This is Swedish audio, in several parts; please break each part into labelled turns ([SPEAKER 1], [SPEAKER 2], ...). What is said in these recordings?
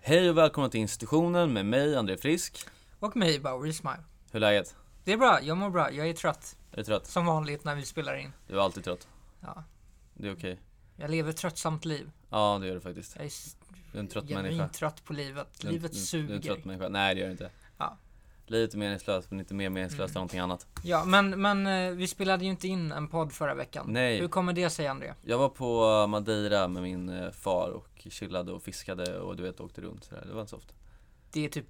[SPEAKER 1] Hej och välkomna till institutionen med mig, André Frisk.
[SPEAKER 2] Och mig, Bowery Smile.
[SPEAKER 1] Hur är läget?
[SPEAKER 2] Det är bra, jag mår bra. Jag är trött.
[SPEAKER 1] Är du trött?
[SPEAKER 2] Som vanligt när vi spelar in.
[SPEAKER 1] Du är alltid trött.
[SPEAKER 2] Ja.
[SPEAKER 1] Det är okej.
[SPEAKER 2] Jag lever ett tröttsamt liv.
[SPEAKER 1] Ja, det gör du faktiskt.
[SPEAKER 2] Jag är s-
[SPEAKER 1] Du är en trött människa.
[SPEAKER 2] genuint trött på livet.
[SPEAKER 1] Du är en-
[SPEAKER 2] Livet
[SPEAKER 1] du-
[SPEAKER 2] suger.
[SPEAKER 1] Du är en trött människa. Nej, det gör det inte.
[SPEAKER 2] Ja. Mm.
[SPEAKER 1] Livet är meningslöst, men inte mer meningslöst än någonting annat.
[SPEAKER 2] Ja, men, men eh, vi spelade ju inte in en podd förra veckan.
[SPEAKER 1] Nej.
[SPEAKER 2] Hur kommer det sig, André?
[SPEAKER 1] Jag var på eh, Madeira med min eh, far och chillade och fiskade och du vet, åkte runt sådär. Det var inte så ofta.
[SPEAKER 2] Det, är typ,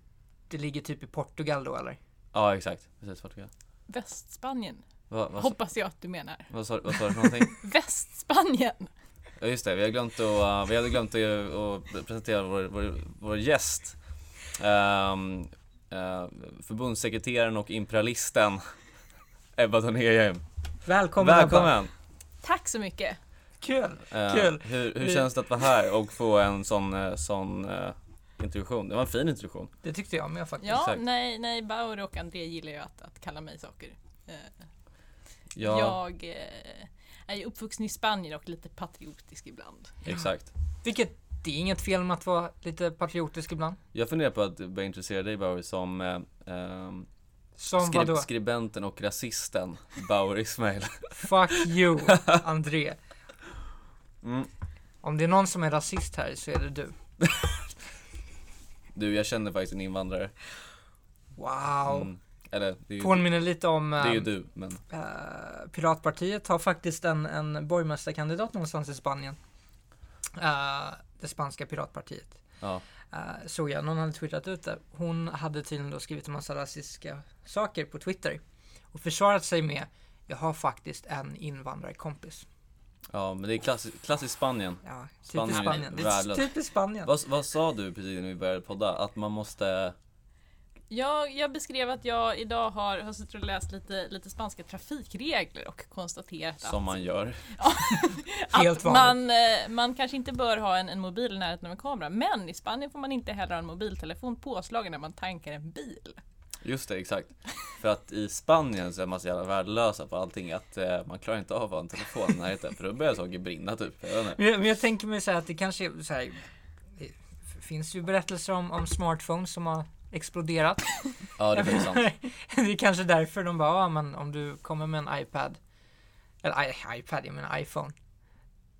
[SPEAKER 2] det ligger typ i Portugal då, eller?
[SPEAKER 1] Ja, exakt. Precis vad jag
[SPEAKER 3] Västspanien,
[SPEAKER 1] vad, vad,
[SPEAKER 3] hoppas jag att du menar.
[SPEAKER 1] vad, sa, vad sa du för någonting?
[SPEAKER 3] Västspanien!
[SPEAKER 1] Ja, just det. Vi, har glömt att, eh, vi hade glömt att, eh, att presentera vår, vår, vår gäst. Ehm, eh, förbundssekreteraren och imperialisten Ebba Thornéhielm.
[SPEAKER 2] Välkommen, Ebba.
[SPEAKER 1] Välkommen!
[SPEAKER 3] Tack så mycket!
[SPEAKER 2] Kul!
[SPEAKER 1] Eh,
[SPEAKER 2] Kul.
[SPEAKER 1] Hur, hur
[SPEAKER 2] Vi-
[SPEAKER 1] känns det att vara här och få en sån, eh, sån eh, introduktion? Det var en fin introduktion.
[SPEAKER 2] Det tyckte jag med faktiskt.
[SPEAKER 3] Ja,
[SPEAKER 1] Exakt.
[SPEAKER 3] nej, nej, Bauer och André gillar ju att, att kalla mig saker. Eh,
[SPEAKER 1] Ja,
[SPEAKER 3] Jag eh, är ju uppvuxen i Spanien och lite patriotisk ibland.
[SPEAKER 1] exakt.
[SPEAKER 2] Vilket, det är inget fel med att vara lite patriotisk ibland.
[SPEAKER 1] Jag funderar på att börja intressera dig Bauer som eh, ehm,
[SPEAKER 2] Som
[SPEAKER 1] skri-
[SPEAKER 2] vadå?
[SPEAKER 1] skribenten och rasisten Bauer Ismail.
[SPEAKER 2] Fuck you, André.
[SPEAKER 1] Mm.
[SPEAKER 2] Om det är någon som är rasist här så är det du.
[SPEAKER 1] Du, jag känner faktiskt en invandrare.
[SPEAKER 2] Wow.
[SPEAKER 1] Mm. Eller, det är ju,
[SPEAKER 2] Påminner lite om
[SPEAKER 1] det är ju
[SPEAKER 2] eh,
[SPEAKER 1] du, men
[SPEAKER 2] eh, Piratpartiet har faktiskt en, en borgmästarkandidat någonstans i Spanien. Eh, det spanska piratpartiet.
[SPEAKER 1] ja.
[SPEAKER 2] Eh, såg jag, någon hade twittrat ut det. Hon hade tydligen då skrivit en massa rasistiska saker på Twitter. Och försvarat sig med Jag har faktiskt en invandrarkompis.
[SPEAKER 1] Ja, men det är klassisk, klassiskt Spanien.
[SPEAKER 2] Ja, typiskt
[SPEAKER 1] Spanien är
[SPEAKER 2] Spanien. Det är
[SPEAKER 1] värdelöst.
[SPEAKER 2] typiskt Spanien.
[SPEAKER 1] Vad, vad sa du precis när vi började podda? Att man måste...
[SPEAKER 3] Jag, jag beskrev att jag idag har, har suttit och läst lite, lite spanska trafikregler och konstaterat att
[SPEAKER 1] Som man gör.
[SPEAKER 2] Helt vanligt.
[SPEAKER 3] att man, eh, man kanske inte bör ha en, en mobil i närheten av en kamera, men i Spanien får man inte heller ha en mobiltelefon påslagen när man tankar en bil.
[SPEAKER 1] Just det, exakt. För att i Spanien så är man så jävla värdelösa på allting att eh, man klarar inte av att ha en telefon i närheten för då börjar saker brinna typ. Jag vet inte.
[SPEAKER 2] Men jag, men jag tänker mig så här att det kanske är så här, det f- finns ju berättelser om, om smartphones som har exploderat.
[SPEAKER 1] Ja, det är faktiskt sant.
[SPEAKER 2] det är kanske därför de bara, ah, men om du kommer med en iPad, eller I, iPad, jag menar iPhone,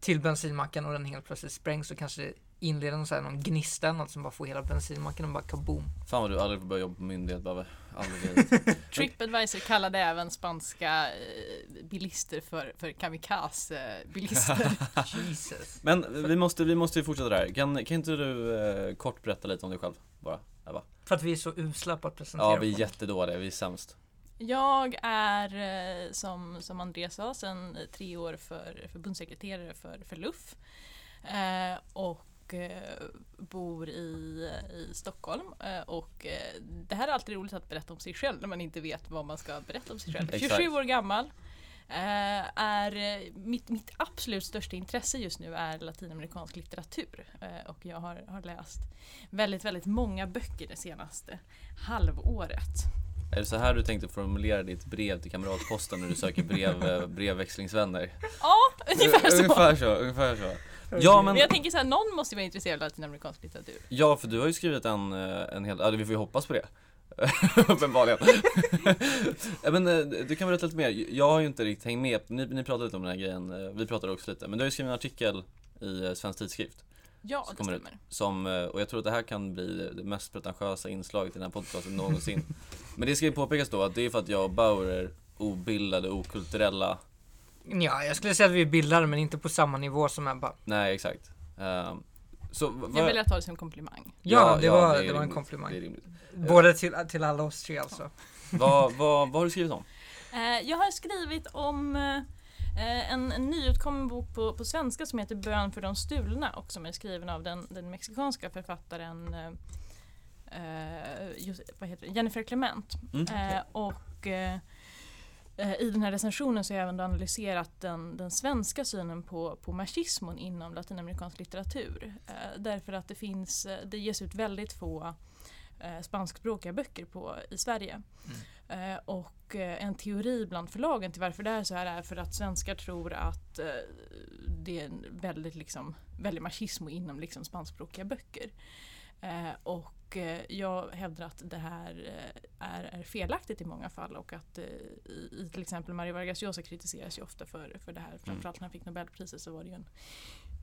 [SPEAKER 2] till bensinmacken och den helt plötsligt sprängs så kanske det inleder någon, så här, någon gnista eller något som bara får hela bensinmacken att bara kaboom.
[SPEAKER 1] Fan vad du aldrig får börja jobba på myndighet Babbe. Aldrig i livet.
[SPEAKER 3] Tripadvisor kallade även spanska eh, bilister för, för kamikaze-bilister.
[SPEAKER 2] Jesus.
[SPEAKER 1] Men vi måste, vi måste ju fortsätta där. Kan, kan inte du eh, kort berätta lite om dig själv? Bara, Ebba.
[SPEAKER 2] För att vi är så usla på att presentera
[SPEAKER 1] Ja, vi är
[SPEAKER 2] folk.
[SPEAKER 1] jättedåliga. Vi är sämst.
[SPEAKER 3] Jag är, eh, som, som Andreas sa, sedan tre år för förbundssekreterare för, för LUF. Eh, och eh, bor i, i Stockholm. Eh, och eh, det här är alltid roligt att berätta om sig själv när man inte vet vad man ska berätta om sig själv.
[SPEAKER 1] Exakt.
[SPEAKER 3] 27 år gammal. Eh, är, eh, mitt, mitt absolut största intresse just nu är latinamerikansk litteratur. Eh, och jag har, har läst väldigt, väldigt många böcker det senaste halvåret.
[SPEAKER 1] Är det så här du tänkte formulera ditt brev till kamratposten när du söker brev, eh, brevväxlingsvänner?
[SPEAKER 3] Ja, ungefär så.
[SPEAKER 1] Ungefär så, ungefär så. Ja men,
[SPEAKER 3] Men jag tänker så här, någon måste ju vara intresserad av latinamerikansk litteratur.
[SPEAKER 1] ja för du har ju skrivit en, eh, en hel, ja vi får ju hoppas på det. Uppenbarligen. Ja, men eh, du kan berätta lite mer, jag har ju inte riktigt hängt med, ni, ni pratade lite om den här grejen, eh, vi pratade också lite, men du har ju skrivit en artikel i eh, Svensk Tidskrift.
[SPEAKER 3] Ja,
[SPEAKER 1] Så
[SPEAKER 3] det
[SPEAKER 1] kommer det ut.
[SPEAKER 3] stämmer.
[SPEAKER 1] Som, eh, och jag tror att det här kan bli det mest pretentiösa inslaget i den här podcasten någonsin. Men det ska ju påpekas då att det är för att jag och Bauer är obildade, okulturella
[SPEAKER 2] Ja, jag skulle säga att vi är bildade men inte på samma nivå som Ebba.
[SPEAKER 1] Nej, exakt. Ehm, så v- vad-
[SPEAKER 3] Jag väljer att ta det som en komplimang.
[SPEAKER 2] Ja, det, var,
[SPEAKER 1] är
[SPEAKER 2] det, var
[SPEAKER 1] rimligt.
[SPEAKER 2] en
[SPEAKER 1] Det är
[SPEAKER 2] komplimang.
[SPEAKER 1] rimligt.
[SPEAKER 2] Både till, till alla oss tre alltså.
[SPEAKER 1] vad, vad, vad har du skrivit om?
[SPEAKER 3] Eh, jag har skrivit om eh, en, en nyutkommen bok på, på svenska som heter Bön för de stulna och som är skriven av den, den mexikanska författaren eh, eh, just, vad heter det? Jennifer Clement.
[SPEAKER 1] Mm.
[SPEAKER 3] Eh, och eh, eh, i den här recensionen så har jag även analyserat den, den svenska synen på, på machismon inom latinamerikansk litteratur. Eh, därför att det finns, eh, det ges ut väldigt få eh, spanskspråkiga böcker på, i Sverige. Eh, och eh, en teori bland förlagen till varför det är så här är för att svenskar tror att eh, det är en väldigt, liksom, väldigt machismo inom liksom, spanskspråkiga böcker. Eh, Eh, och eh, jag hävdar att det här eh, är, är felaktigt i många fall och att eh, i, i till exempel Mario Vargas Llosa kritiseras ju ofta för, för det
[SPEAKER 2] Mm.
[SPEAKER 3] här. Framförallt när han fick Nobelpriset så var det ju en,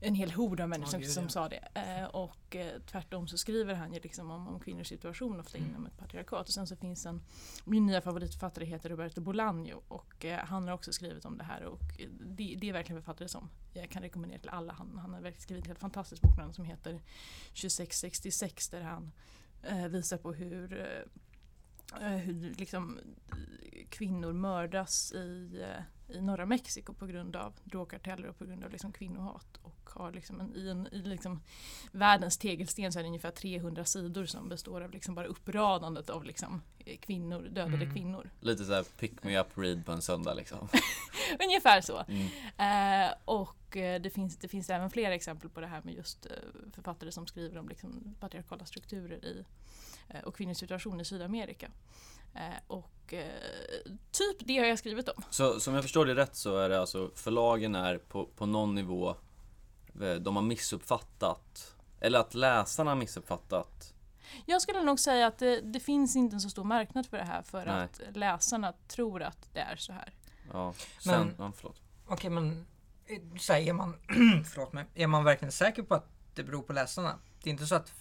[SPEAKER 3] en hel hord av människor
[SPEAKER 2] Ja,
[SPEAKER 3] som,
[SPEAKER 2] gud,
[SPEAKER 3] som
[SPEAKER 2] ja.
[SPEAKER 3] sa det. Eh, och eh, tvärtom så skriver han ju liksom om, om kvinnors situation ofta inom ett patriarkat. Och sen så finns en, min nya favoritförfattare heter Roberto Bolaño och eh, han har också skrivit om det här och eh, det, det är verkligen en författare som jag kan rekommendera till alla. Han, han har verkligen skrivit en helt fantastisk bok som heter 2666 där han eh, visar på hur, eh, eh, hur liksom, eh, kvinnor mördas i, eh, i norra Mexiko på grund av drogkarteller och på grund av liksom, kvinnohat. Och har liksom en, I, en, i liksom, världens tegelsten så är det ungefär 300 sidor som består av liksom bara uppradandet av liksom, eh, kvinnor, dödade
[SPEAKER 2] Mm.
[SPEAKER 3] kvinnor.
[SPEAKER 1] Lite såhär pick me up read på en söndag liksom.
[SPEAKER 3] Ungefär så.
[SPEAKER 1] Mm.
[SPEAKER 3] Eh, och eh, det finns, det finns även fler exempel på det här med just eh, författare som skriver om liksom, patriarkala strukturer i, eh, och kvinnors situation i Sydamerika. Eh, och eh, typ det har jag skrivit om.
[SPEAKER 1] Så som jag förstår det rätt så är det alltså förlagen är på, på någon nivå eh, de har missuppfattat eller att läsarna har missuppfattat.
[SPEAKER 3] Jag skulle nog säga att det, det finns inte en så stor marknad för det här för
[SPEAKER 1] Nej.
[SPEAKER 3] att läsarna tror att det är så här.
[SPEAKER 1] Ja, sen,
[SPEAKER 2] Men-
[SPEAKER 1] ja, förlåt.
[SPEAKER 2] Okej men, eh, så här, är man, förlåt mig, är man verkligen säker på att det beror på läsarna? Det är inte så att,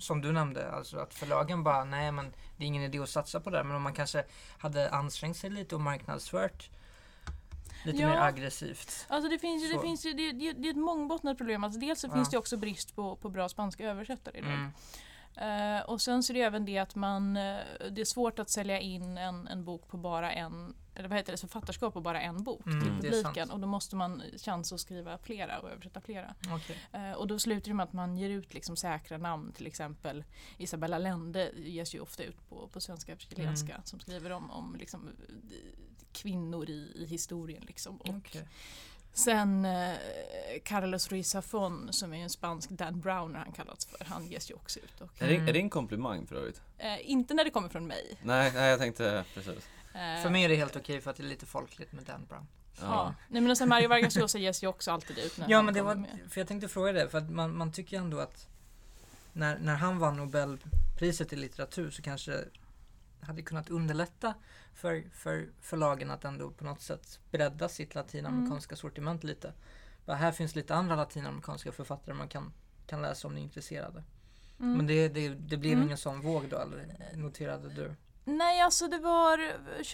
[SPEAKER 2] som du nämnde, alltså att förlagen bara, nej men det är ingen idé att satsa på det här. Men om man kanske hade ansträngt sig lite och marknadsfört lite
[SPEAKER 3] Ja.
[SPEAKER 2] mer aggressivt.
[SPEAKER 3] Alltså det, finns, ju- det,
[SPEAKER 2] Så.
[SPEAKER 3] finns, ju- det, det, det är ett mångbottnat problem. Alltså dels så
[SPEAKER 2] Ja.
[SPEAKER 3] finns det också brist på, på bra spanska översättare idag.
[SPEAKER 2] Mm.
[SPEAKER 3] Eh, och sen så är det även det att man, eh, det är svårt att sälja in en, en bok på bara en, eller vad heter det, författarskap på bara en bok
[SPEAKER 2] Mm,
[SPEAKER 3] till
[SPEAKER 2] det är sant.
[SPEAKER 3] publiken. Och då måste man chansa att skriva flera och översätta flera.
[SPEAKER 2] Okej.
[SPEAKER 3] Eh, och då slutar det med att man ger ut liksom säkra namn, till exempel Isabella Lende ges ju ofta ut på, på svenska och chilenska
[SPEAKER 2] Mm.
[SPEAKER 3] som skriver om, om liksom, eh, kvinnor i, i historien. Liksom. Och
[SPEAKER 2] Okej.
[SPEAKER 3] Sen eh, Carlos Ruiz Zafón som är ju en spansk Dan Brown har han kallats för, han ges ju också ut. Och,
[SPEAKER 1] Är, det, är det en komplimang för övrigt?
[SPEAKER 3] Eh, inte när det kommer från mig.
[SPEAKER 1] Nej, nej jag tänkte precis.
[SPEAKER 3] Eh,
[SPEAKER 2] För mig är det helt okej för att det är lite folkligt med Dan Brown.
[SPEAKER 3] Ja. Nej, men sen Mario Vargas Llosa ges ju också alltid ut när
[SPEAKER 2] Ja
[SPEAKER 3] han
[SPEAKER 2] men det
[SPEAKER 3] kommer
[SPEAKER 2] var,
[SPEAKER 3] med.
[SPEAKER 2] för jag tänkte fråga det, för att man, man tycker ändå att när, när han vann Nobelpriset i litteratur så kanske det hade kunnat underlätta för, för förlagen att ändå på något sätt bredda sitt latinamerikanska sortiment lite. Bara här finns lite andra latinamerikanska författare man kan, kan läsa om ni är intresserade.
[SPEAKER 3] Mm.
[SPEAKER 2] Men det, det, det blev
[SPEAKER 3] Mm.
[SPEAKER 2] ingen sån våg då, eller noterade du?
[SPEAKER 3] Nej, alltså det var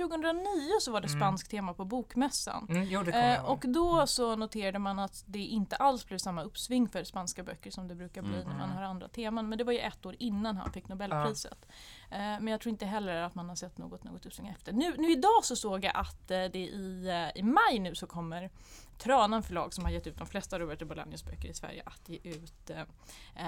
[SPEAKER 3] 2009 så var det
[SPEAKER 2] Mm.
[SPEAKER 3] spanskt tema på Bokmässan.
[SPEAKER 2] Mm, jo, det kommer jag
[SPEAKER 3] Eh,
[SPEAKER 2] ihåg.
[SPEAKER 3] och då så noterade man att det inte alls blev samma uppsving för spanska böcker som det brukar bli
[SPEAKER 1] Mm.
[SPEAKER 3] när man har andra teman. Men det var ju ett år innan han fick Nobelpriset. Eh, men jag tror inte heller att man har sett något, något uppsving efter. Nu, nu idag så såg jag att eh, det i, eh, i maj nu så kommer Tranan förlag som har gett ut de flesta Roberto Bolaños böcker i Sverige att ge ut eh,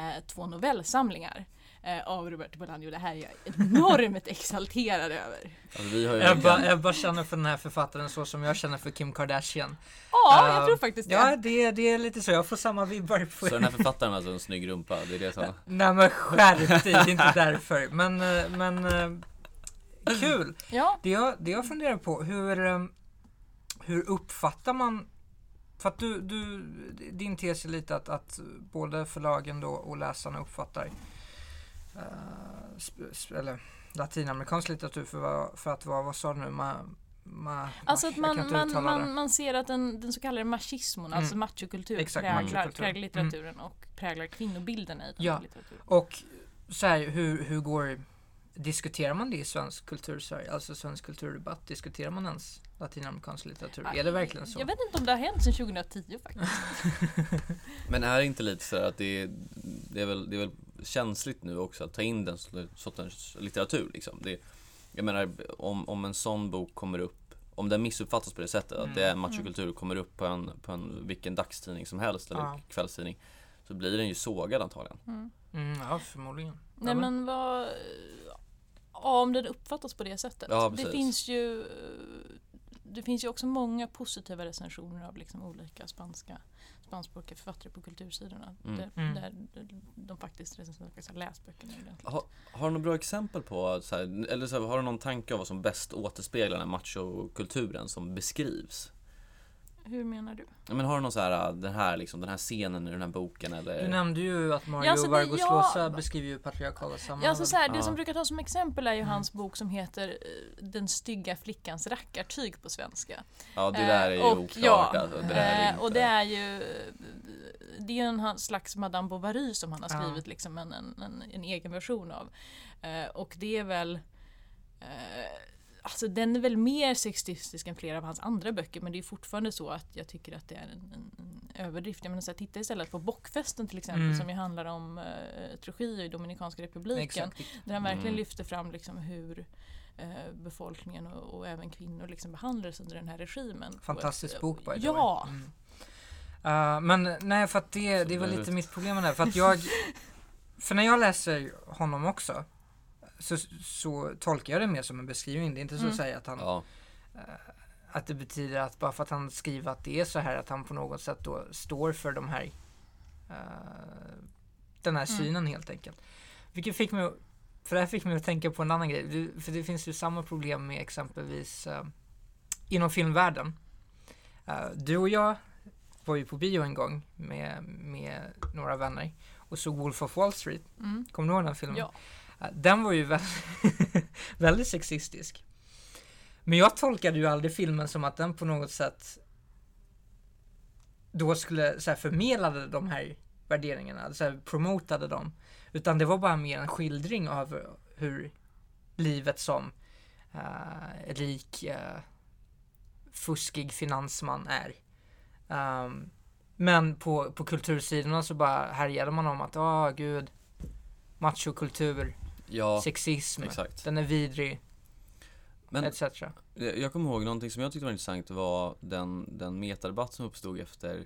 [SPEAKER 3] eh, två novellsamlingar eh, av Roberto Bolaño. Det här är jag enormt exalterad över.
[SPEAKER 1] Alltså, vi har ju
[SPEAKER 2] Ebba,
[SPEAKER 1] verkligen-
[SPEAKER 2] Ebba känner för den här författaren så som jag känner för Kim Kardashian.
[SPEAKER 3] Ja, jag
[SPEAKER 2] Eh,
[SPEAKER 3] tror faktiskt det.
[SPEAKER 2] Ja, det, det är lite så. Jag får samma vibbar på
[SPEAKER 1] Så den här författaren har alltså en snygg rumpa, det är det som...
[SPEAKER 2] Nej men skärp dig, det är inte därför. Men, eh, men eh, kul.
[SPEAKER 3] Ja.
[SPEAKER 2] Det jag, det jag funderar på, hur, eh, hur uppfattar man för att du, du, din tes är lite att, att både förlagen då och läsarna uppfattar eh, sp- sp- eller latinamerikansk litteratur för, vad- för att vara, vad sa du nu, ma, ma,
[SPEAKER 3] Alltså
[SPEAKER 2] ma-
[SPEAKER 3] att
[SPEAKER 2] jag kan
[SPEAKER 3] man,
[SPEAKER 2] inte
[SPEAKER 3] man,
[SPEAKER 2] uttala det.
[SPEAKER 3] man, man ser att den, den så kallade machismon,
[SPEAKER 2] Mm.
[SPEAKER 3] alltså machokultur,
[SPEAKER 2] Exakt,
[SPEAKER 3] präglar,
[SPEAKER 2] machokultur. Mm.
[SPEAKER 3] präglar litteraturen och präglar kvinnobilden i den
[SPEAKER 2] Ja.
[SPEAKER 3] här litteraturen.
[SPEAKER 2] Och så här, hur, hur går Diskuterar man det i svensk kultur, så här, alltså svensk kulturdebatt? Diskuterar man ens latinamerikansk litteratur? är det verkligen så?
[SPEAKER 3] Ah, Jag vet inte om det har hänt sedan 2010 faktiskt.
[SPEAKER 1] Men är det inte lite så här att det är, det är, väl, det är väl känsligt nu också att ta in den sortens litteratur liksom. Det, jag menar om, om en sån bok kommer upp, om den missuppfattas på det sättet, att det är machokultur och kommer upp på en, på en vilken dagstidning som helst eller
[SPEAKER 2] Ja.
[SPEAKER 1] kvällstidning. Så blir den ju sågad antagligen.
[SPEAKER 2] Mm, ja, förmodligen.
[SPEAKER 3] Nej men vad... Ja, om den uppfattas på det sättet.
[SPEAKER 1] Ja,
[SPEAKER 3] det
[SPEAKER 1] precis.
[SPEAKER 3] finns ju... Det finns ju också många positiva recensioner av liksom olika spanska spanskspråkiga författare på kultursidorna.
[SPEAKER 1] Mm.
[SPEAKER 3] Där,
[SPEAKER 2] Mm.
[SPEAKER 3] där de faktiskt recenserar och läst böckerna ordentligt.
[SPEAKER 1] Har, har du några bra exempel på, så här, eller så här, har du någon tanke om vad som bäst återspeglar den här machokulturen som beskrivs?
[SPEAKER 3] Hur menar du?
[SPEAKER 1] Ja, Men har du någon så här, äh, den här, liksom, den här scenen i den här boken eller?
[SPEAKER 2] Du nämnde ju att Mario
[SPEAKER 3] Ja, alltså, det-
[SPEAKER 2] Vargas
[SPEAKER 3] ja.
[SPEAKER 2] Llosa beskriver ju patriarkala
[SPEAKER 3] Ja,
[SPEAKER 2] samhällen.
[SPEAKER 3] alltså så här, Det
[SPEAKER 1] Ja.
[SPEAKER 3] som brukar tas som exempel är ju hans bok som heter eh, Den stygga flickans rackartyg på svenska.
[SPEAKER 1] ja det där är ju
[SPEAKER 3] Eh, och
[SPEAKER 1] oklart
[SPEAKER 3] ja,
[SPEAKER 1] alltså. Det där är
[SPEAKER 3] eh,
[SPEAKER 1] inte...
[SPEAKER 3] och det är ju eh, det är ju en ha- slags Madame Bovary som han har
[SPEAKER 2] Ja.
[SPEAKER 3] skrivit liksom en, en, en, en egen version av. Eh, och det är väl eh, Alltså den är väl mer sexistisk än flera av hans andra böcker men det är fortfarande så att jag tycker att det är en, en, en överdrift. Jag menar, så här, titta istället på Bockfesten till exempel
[SPEAKER 2] Mm.
[SPEAKER 3] som ju handlar om eh, Trujillo i Dominikanska republiken.
[SPEAKER 2] Exakt.
[SPEAKER 3] Där han verkligen
[SPEAKER 1] Mm.
[SPEAKER 3] lyfter fram liksom hur eh, befolkningen och, och även kvinnor liksom behandlades under den här regimen. på ett-
[SPEAKER 2] Fantastisk bok by the
[SPEAKER 3] Ja!
[SPEAKER 2] way. Mm. Eh, men nej, för att det, det var
[SPEAKER 1] Absolut.
[SPEAKER 2] lite mitt problem med det här. För att jag... För när jag läser honom också så, så tolkar jag det mer som en beskrivning. Det är inte så att
[SPEAKER 3] Mm.
[SPEAKER 2] säga att han
[SPEAKER 1] Ja,
[SPEAKER 2] att det betyder att bara för att han skriver att det är så här att han på något sätt då står för de här eh, den här
[SPEAKER 3] Mm.
[SPEAKER 2] synen helt enkelt. Vilket fick mig att- för det här fick mig att tänka på en annan grej. Du- För det finns ju samma problem med exempelvis eh, inom filmvärlden. Eh, du och jag var ju på bio en gång med, med några vänner och såg Wolf of Wall Street.
[SPEAKER 3] Mm.
[SPEAKER 2] Kommer du ihåg den filmen?
[SPEAKER 3] Ja.
[SPEAKER 2] Eh, Den var ju väldigt, väldigt sexistisk. Men jag tolkade ju aldrig filmen som att den på något sätt då skulle så här, förmedlade de här värderingarna, alltså så här, promotade dem. Utan det var bara mer en skildring av hur livet som eh, rik, eh, fuskig finansman är. Ehm, men på, på kultursidorna så bara härjade man om att, ah gud, machokultur,
[SPEAKER 1] ja
[SPEAKER 2] sexism,
[SPEAKER 1] exakt.
[SPEAKER 2] den är vidrig,
[SPEAKER 1] Men
[SPEAKER 2] etc.
[SPEAKER 1] Eh, Jag kommer ihåg någonting som jag tyckte var intressant var den, den metadebatt som uppstod efter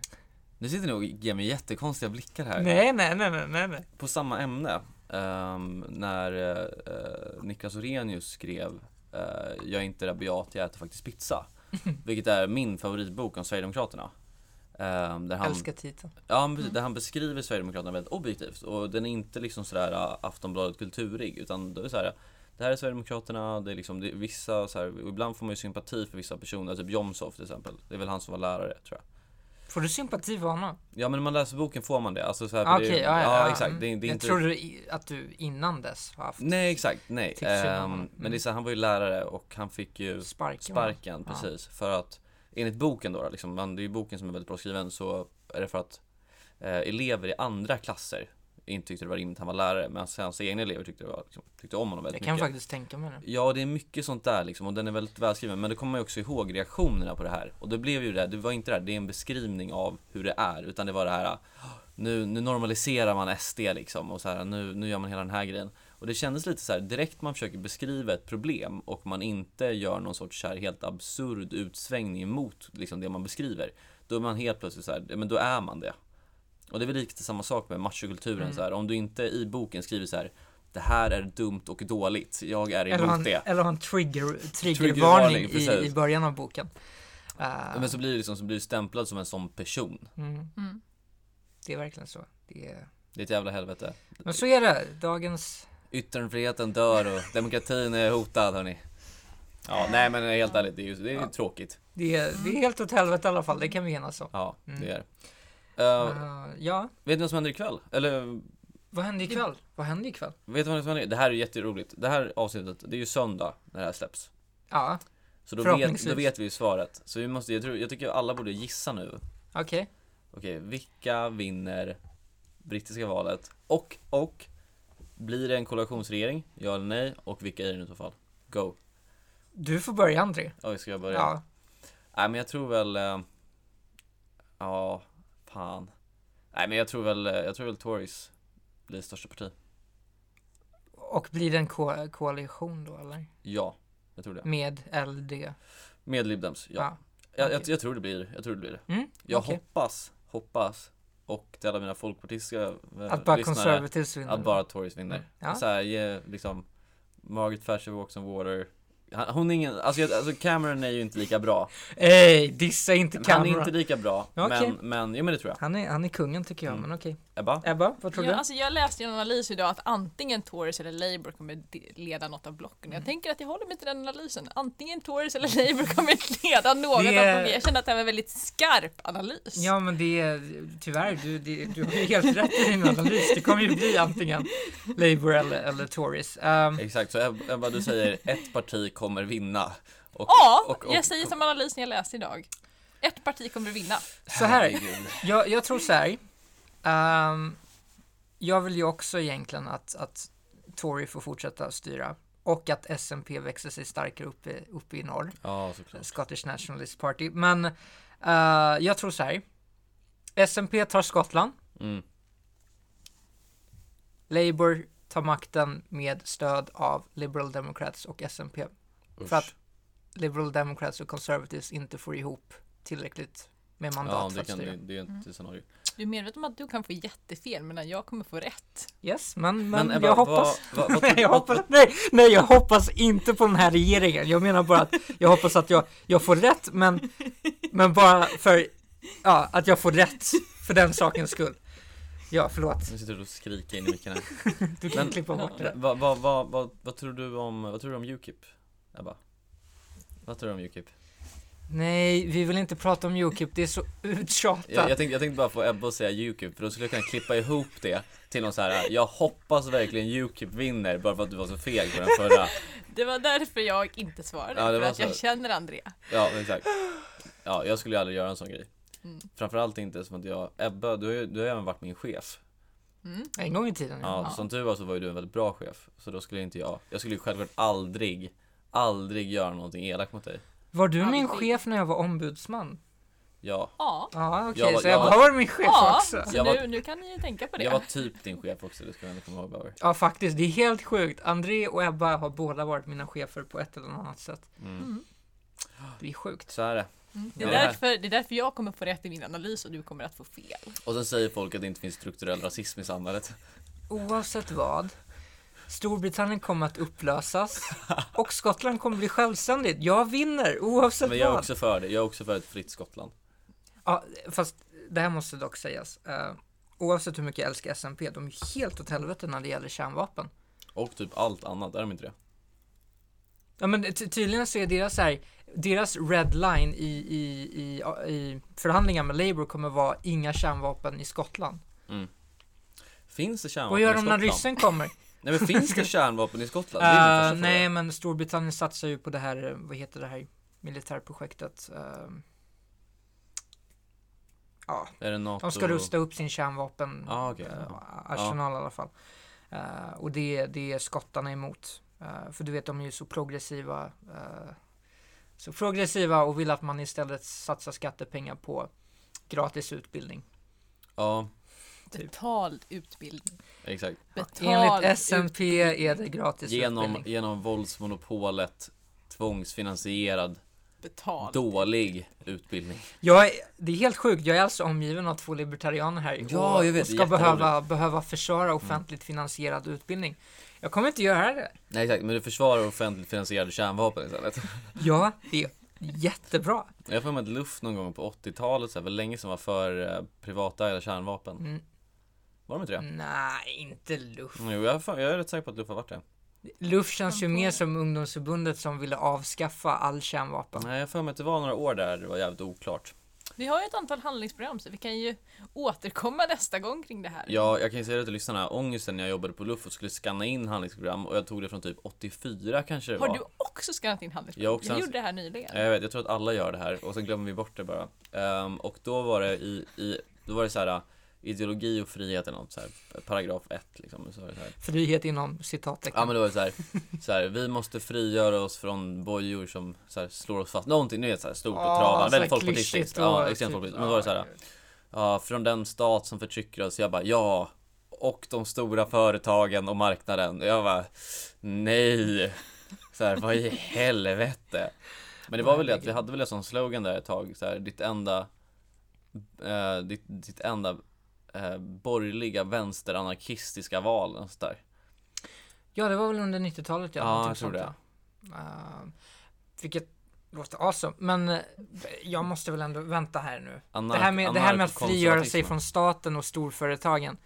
[SPEAKER 1] Nu sitter ni och ger mig jättekonstiga blickar här
[SPEAKER 2] Nej, nej, nej, nej, nej, nej.
[SPEAKER 1] På samma ämne ehm, När eh, eh, Niklas Orenius skrev eh, Jag är inte rabiat, jag äter faktiskt pizza Vilket är min favoritbok om Sverigedemokraterna Ehm, där han,
[SPEAKER 2] Älskar titeln.
[SPEAKER 1] ja, men precis, där han beskriver Sverigedemokraterna väldigt objektivt och den är inte liksom sådär äh, Aftonbladet kulturig utan då är det såhär Det här är Sverigedemokraterna, det är liksom det är vissa så här, och ibland får man ju sympati för vissa personer, typ Jomshof till exempel Det är väl han som var lärare tror jag
[SPEAKER 2] Får du sympati för honom?
[SPEAKER 1] Ja men när man läser boken får man det, alltså så här,
[SPEAKER 2] Ah,
[SPEAKER 1] för det
[SPEAKER 2] Okej,
[SPEAKER 1] är-
[SPEAKER 2] ja, ja, ja,
[SPEAKER 1] exakt
[SPEAKER 2] mm.
[SPEAKER 1] det, är- det är
[SPEAKER 2] Jag
[SPEAKER 1] inte
[SPEAKER 2] trodde i- att du innan dess har haft
[SPEAKER 1] Nej exakt, nej
[SPEAKER 2] Tipsen om
[SPEAKER 1] Ehm,
[SPEAKER 2] honom.
[SPEAKER 1] Men det är så här, han var ju lärare och han fick ju
[SPEAKER 2] sparken.
[SPEAKER 1] Sparken,
[SPEAKER 2] Ja.
[SPEAKER 1] precis. För att enligt boken då, liksom, men det är ju boken som är väldigt bra skriven, så är det för att eh, elever i andra klasser inte tyckte det var rimligt att han var lärare, men hans, hans egna elever tyckte, det var, liksom, tyckte om honom
[SPEAKER 2] Jag
[SPEAKER 1] väldigt
[SPEAKER 2] kan
[SPEAKER 1] mycket.
[SPEAKER 2] faktiskt tänka mig det.
[SPEAKER 1] Ja, det är mycket sånt där liksom, och den är väldigt välskriven, men då kommer man ju också ihåg reaktionerna på det här. Och det blev ju det, här, det var inte det här, det är en beskrivning av hur det är, utan det var det här, "Åh, nu, nu normaliserar man SD liksom, och så här, nu, nu gör man hela den här grejen. Och det kändes lite så här direkt man försöker beskriva ett problem och man inte gör någon sorts så här helt absurd utsvängning emot liksom det man beskriver. Då är man helt plötsligt så här, ja, men då är man det. Och det är väl lite samma sak med machokulturen
[SPEAKER 2] Mm.
[SPEAKER 1] så här. Om du inte i boken skriver så här, det här är dumt och dåligt, jag är
[SPEAKER 2] Eller
[SPEAKER 1] emot
[SPEAKER 2] ha en,
[SPEAKER 1] det.
[SPEAKER 2] eller ha en trigger,
[SPEAKER 1] Triggervarning,
[SPEAKER 2] triggervarning i,
[SPEAKER 1] precis.
[SPEAKER 2] i början av boken. Eh,
[SPEAKER 1] Men så blir det liksom, så blir du stämplad som en sån person.
[SPEAKER 2] mm,
[SPEAKER 3] Mm.
[SPEAKER 2] det är verkligen så. Det är...
[SPEAKER 1] Det är ett jävla helvete.
[SPEAKER 2] Men så är det. Dagens
[SPEAKER 1] Yttrandefriheten dör och demokratin är hotad hörni. Ja, nej men helt ärligt, det är ju det är ju
[SPEAKER 2] Ja.
[SPEAKER 1] tråkigt.
[SPEAKER 2] Det är, det är helt åt helvete i alla fall, det kan vi enas om.
[SPEAKER 1] Ja,
[SPEAKER 2] Mm.
[SPEAKER 1] det är det. Eh,
[SPEAKER 2] Eh, ja,
[SPEAKER 1] Vet ni vad som händer ikväll? Eller
[SPEAKER 2] vad händer ikväll? Vad händer ikväll?
[SPEAKER 1] Vet du vad som händer? Det här är jätteroligt. Det här avsnittet, det är ju söndag när det här släpps.
[SPEAKER 2] Ja,
[SPEAKER 1] Så då vet,
[SPEAKER 2] Förhoppningsvis.
[SPEAKER 1] då vet vi ju svaret. Så vi måste, jag, tror, jag tycker alla borde gissa nu.
[SPEAKER 2] okej.
[SPEAKER 1] Okej, vilka vinner brittiska valet? Och, och, blir det en koalitionsregering? Ja eller nej? Och vilka är det nu i så fall? Go!
[SPEAKER 2] Du får börja André.
[SPEAKER 1] Oj, ska jag börja?
[SPEAKER 2] Ja.
[SPEAKER 1] Nej men jag tror väl... eh, Ja, fan. Nej men jag tror väl, eh, jag tror väl Tories blir största parti.
[SPEAKER 2] Och blir det en ko- koalition då eller?
[SPEAKER 1] Ja, jag tror det.
[SPEAKER 2] Med LD? Ja.
[SPEAKER 1] Med Lib Dems, ja. Jag, jag,
[SPEAKER 2] Okej.
[SPEAKER 1] jag tror det blir, jag tror det blir det.
[SPEAKER 2] Mm,
[SPEAKER 1] Jag
[SPEAKER 2] okej.
[SPEAKER 1] hoppas, hoppas och till alla mina folkpartistiska eh,
[SPEAKER 2] Att bara
[SPEAKER 1] lyssnare,
[SPEAKER 2] Conservatives vinner? Mm.
[SPEAKER 1] att bara Tories vinner.
[SPEAKER 2] Ja.
[SPEAKER 1] Så här, ge, liksom, Margaret Thatcher walks on water. Han, hon är ingen, alltså, jag, alltså Cameron är ju inte lika bra.
[SPEAKER 2] Ey, dissa inte
[SPEAKER 1] Han är
[SPEAKER 2] Cameron!
[SPEAKER 1] inte lika bra,
[SPEAKER 2] Okej.
[SPEAKER 1] men, men, ja men det tror jag.
[SPEAKER 2] Han är, han är kungen tycker jag,
[SPEAKER 1] Mm.
[SPEAKER 2] men okej.
[SPEAKER 1] Ebba?
[SPEAKER 2] Ebba, vad tror
[SPEAKER 3] ja,
[SPEAKER 2] du?
[SPEAKER 3] Alltså jag läste i en analys idag att antingen Tories eller Labour kommer de- leda något av blocken.
[SPEAKER 2] Mm.
[SPEAKER 3] Jag tänker att jag håller mig till den analysen. Antingen Tories eller Labour kommer leda något
[SPEAKER 2] Det
[SPEAKER 3] av
[SPEAKER 2] är-
[SPEAKER 3] blocken. Jag känner att det här var en väldigt skarp analys.
[SPEAKER 2] Ja men det är tyvärr, du, det, du har ju helt rätt i din analys. Det kommer ju bli antingen Labour eller, eller Tories. Ehm,
[SPEAKER 1] Exakt, så Eb- Ebba du säger ett parti kommer vinna. Och,
[SPEAKER 3] Ja,
[SPEAKER 1] och- och-
[SPEAKER 3] jag säger som analysen jag läste idag. Ett parti kommer vinna.
[SPEAKER 2] så här,
[SPEAKER 1] Herregud.
[SPEAKER 2] jag, jag tror så här. Ehm, jag vill ju också egentligen att, att Tory får fortsätta styra och att S&P växer sig starkare uppe, uppe i norr.
[SPEAKER 1] Ja, såklart.
[SPEAKER 2] Scottish Nationalist Party. Men eh, jag tror så här. S&P tar Skottland.
[SPEAKER 1] Mm.
[SPEAKER 2] Labour tar makten med stöd av Liberal Democrats och S&P. För att
[SPEAKER 1] Usch.
[SPEAKER 2] Liberal Democrats och Conservatives inte får ihop tillräckligt med
[SPEAKER 1] Ja,
[SPEAKER 2] mandat för
[SPEAKER 1] det,
[SPEAKER 2] att
[SPEAKER 1] kan, det,
[SPEAKER 2] styra.
[SPEAKER 1] det är
[SPEAKER 2] Mm.
[SPEAKER 1] ett scenario.
[SPEAKER 3] Du är medveten om att du kan få jättefel medan jag kommer få rätt.
[SPEAKER 2] Yes, men, men,
[SPEAKER 1] Ebba,
[SPEAKER 2] jag hoppas...
[SPEAKER 1] Vad, vad, vad, tror
[SPEAKER 2] Nej,
[SPEAKER 1] du-
[SPEAKER 2] jag hoppas, nej, nej, jag hoppas inte på den här regeringen. Jag menar bara att jag hoppas att jag, jag får rätt, men, men bara för ja, att jag får rätt för den sakens skull. Ja, förlåt.
[SPEAKER 1] Nu sitter du och skriker in i micken här.
[SPEAKER 2] Du kan
[SPEAKER 1] Men-
[SPEAKER 2] klippa bort det där.
[SPEAKER 1] Vad, vad, vad, vad, vad tror du om, vad tror du om Ukip? Ebba? Vad tror du om Ukip?
[SPEAKER 2] Nej, vi vill inte prata om Ukip, det är så uttjatat.
[SPEAKER 1] Jag, jag, tänkte, jag tänkte bara få Ebba att säga Ukip för då skulle jag kunna klippa ihop det till någon så här. jag hoppas verkligen Ukip vinner bara för att du var så feg på den förra.
[SPEAKER 3] Det var därför jag inte svarade.
[SPEAKER 1] Ja, det
[SPEAKER 3] för
[SPEAKER 1] var
[SPEAKER 3] att
[SPEAKER 1] så.
[SPEAKER 3] jag känner Andrea.
[SPEAKER 1] Ja, exakt. Ja, jag skulle ju aldrig göra en sån grej.
[SPEAKER 3] Mm.
[SPEAKER 1] Framförallt inte som att jag, Ebba, du har ju du har ju även varit min chef.
[SPEAKER 3] Mm.
[SPEAKER 2] En gång i tiden.
[SPEAKER 1] Ja,
[SPEAKER 3] Ja.
[SPEAKER 1] som tur var så var ju du en väldigt bra chef. Så då skulle inte jag, jag skulle ju självklart aldrig, aldrig göra någonting elakt mot dig.
[SPEAKER 2] Var du min
[SPEAKER 3] Aldrig.
[SPEAKER 2] chef när jag var ombudsman?
[SPEAKER 1] Ja.
[SPEAKER 3] Ja.
[SPEAKER 2] Ja, okej,
[SPEAKER 1] Jag var-
[SPEAKER 2] så jag
[SPEAKER 1] jag
[SPEAKER 2] var min chef
[SPEAKER 3] Ja,
[SPEAKER 2] också.
[SPEAKER 3] så
[SPEAKER 1] Jag var-
[SPEAKER 3] nu, nu kan ni ju tänka på det.
[SPEAKER 1] Jag var typ din chef också, det ska jag ändå komma ihåg Bauer.
[SPEAKER 2] Ja, faktiskt, det är helt sjukt. André och Ebba har båda varit mina chefer på ett eller annat sätt.
[SPEAKER 1] Mm.
[SPEAKER 3] Mm.
[SPEAKER 2] Det är sjukt.
[SPEAKER 1] Så är det.
[SPEAKER 3] Mm. Det, är
[SPEAKER 1] Ja.
[SPEAKER 3] därför, det är därför jag kommer få rätt i min analys och du kommer att få fel.
[SPEAKER 1] Och sen säger folk att det inte finns strukturell rasism i samhället.
[SPEAKER 2] Oavsett vad, Storbritannien kommer att upplösas och Skottland kommer bli självständigt. Jag vinner oavsett
[SPEAKER 1] Men jag är
[SPEAKER 2] vad.
[SPEAKER 1] också för det. Jag är också för ett fritt Skottland.
[SPEAKER 2] Ja, fast det här måste dock sägas. Eh, oavsett hur mycket jag älskar S&P, de är helt åt helvete när det gäller kärnvapen.
[SPEAKER 1] Och typ allt annat, är de inte det?
[SPEAKER 2] Ja men ty- tydligen så är deras så här, deras red line i, i, i, i förhandlingar med Labour kommer vara inga kärnvapen i Skottland.
[SPEAKER 1] Finns det kärnvapen
[SPEAKER 2] Vad
[SPEAKER 1] i
[SPEAKER 2] gör de när
[SPEAKER 1] Skottland?
[SPEAKER 2] ryssen kommer?
[SPEAKER 1] Nej men finns det kärnvapen i Skottland? Det är min
[SPEAKER 2] Eh,
[SPEAKER 1] första fråga.
[SPEAKER 2] nej men Storbritannien satsar ju på det här, eh, vad heter det här militärprojektet? Eh, ja,
[SPEAKER 1] Är det NATO?
[SPEAKER 2] de ska rusta upp sin kärnvapen
[SPEAKER 1] Ah, eh, okej.
[SPEAKER 2] eh, arsenal i alla fall. Eh, och det, det är skottarna emot. Eh, för du vet de är ju så progressiva. eh, så progressiva och vill att man istället satsar skattepengar på gratis utbildning.
[SPEAKER 1] Ja,
[SPEAKER 2] Typ.
[SPEAKER 3] Betald utbildning.
[SPEAKER 1] exakt.
[SPEAKER 3] Betald
[SPEAKER 2] Enligt S&P är det gratis
[SPEAKER 1] Genom,
[SPEAKER 2] utbildning.
[SPEAKER 1] genom våldsmonopolet tvångsfinansierad
[SPEAKER 3] ut- betald.
[SPEAKER 1] dålig utbildning.
[SPEAKER 2] Jag är, det är helt sjukt, jag är alltså omgiven av två libertarianer här
[SPEAKER 1] Ja,
[SPEAKER 2] och,
[SPEAKER 1] jag vet,
[SPEAKER 2] och ska
[SPEAKER 1] jätteroligt.
[SPEAKER 2] behöva, behöva försvara offentligt finansierad utbildning. Jag kommer inte göra det.
[SPEAKER 1] Nej exakt, men du försvarar offentligt finansierade kärnvapen istället.
[SPEAKER 2] Ja, det är jättebra.
[SPEAKER 1] Jag har för mig att Luft någon gång på 80-talet, så här, väl länge som var för eh, privatägda kärnvapen.
[SPEAKER 2] Mm.
[SPEAKER 1] Var de inte det?
[SPEAKER 2] Nej, inte luft.
[SPEAKER 1] Jo, jag, har för- jag är rätt säker på att Luft har varit det.
[SPEAKER 2] LUF känns ju
[SPEAKER 3] Tampon.
[SPEAKER 2] mer som ungdomsförbundet som ville avskaffa all kärnvapen.
[SPEAKER 1] Nej, jag har för mig att det var några år där det var jävligt oklart.
[SPEAKER 3] Vi har ju ett antal handlingsprogram så vi kan ju återkomma nästa gång kring det här.
[SPEAKER 1] Ja, jag kan ju säga det till lyssnarna. Ångesten när jag jobbade på Luff och skulle scanna in handlingsprogram och jag tog det från typ 84 kanske det
[SPEAKER 3] Har
[SPEAKER 1] var.
[SPEAKER 3] du också skannat in
[SPEAKER 1] Jag
[SPEAKER 3] handlingsprogram?
[SPEAKER 1] har också
[SPEAKER 3] vi
[SPEAKER 1] hans- Eh,
[SPEAKER 3] gjorde det här nyligen.
[SPEAKER 1] Ja, Jag vet, jag tror att alla gör det här och sen glömmer vi bort det bara. Ehm, och då var det i, i då var det så här äh, ideologi och frihet eller något så här, paragraf 1 liksom. Så var det så här.
[SPEAKER 2] Frihet inom
[SPEAKER 1] Ja
[SPEAKER 2] citattecken.
[SPEAKER 1] men då var det så här, så här, vi måste frigöra oss från bojor som så här, slår oss fast. Någonting, ni vet så här stort och
[SPEAKER 2] Ja, Ah, så här
[SPEAKER 1] travande, väldigt
[SPEAKER 2] klyschigt
[SPEAKER 1] folkpartistiskt.
[SPEAKER 2] och
[SPEAKER 1] Ja,
[SPEAKER 2] typ-
[SPEAKER 1] extremt folkpartistiskt. Men då var det så här, Ja, från den stat som förtrycker oss. Jag bara, ja. Och de stora företagen och marknaden. Jag bara, nej. Så här, vad i helvete. Men det var väl det att vi hade väl en sån slogan där ett tag. Så här, ditt enda, eh, ditt, ditt enda eh, borgerliga vänsteranarkistiska val. och sånt där.
[SPEAKER 2] Ja, det var väl under 90-talet
[SPEAKER 1] Ja,
[SPEAKER 2] någonting
[SPEAKER 1] jag tror
[SPEAKER 2] sånt,
[SPEAKER 1] det.
[SPEAKER 2] ja. Eh, vilket låter awesome. Men eh, jag måste väl ändå vänta här nu.
[SPEAKER 1] Anark-
[SPEAKER 2] Det här med, det här med att frigöra sig
[SPEAKER 1] anarkokonservatismen.
[SPEAKER 2] från staten och storföretagen.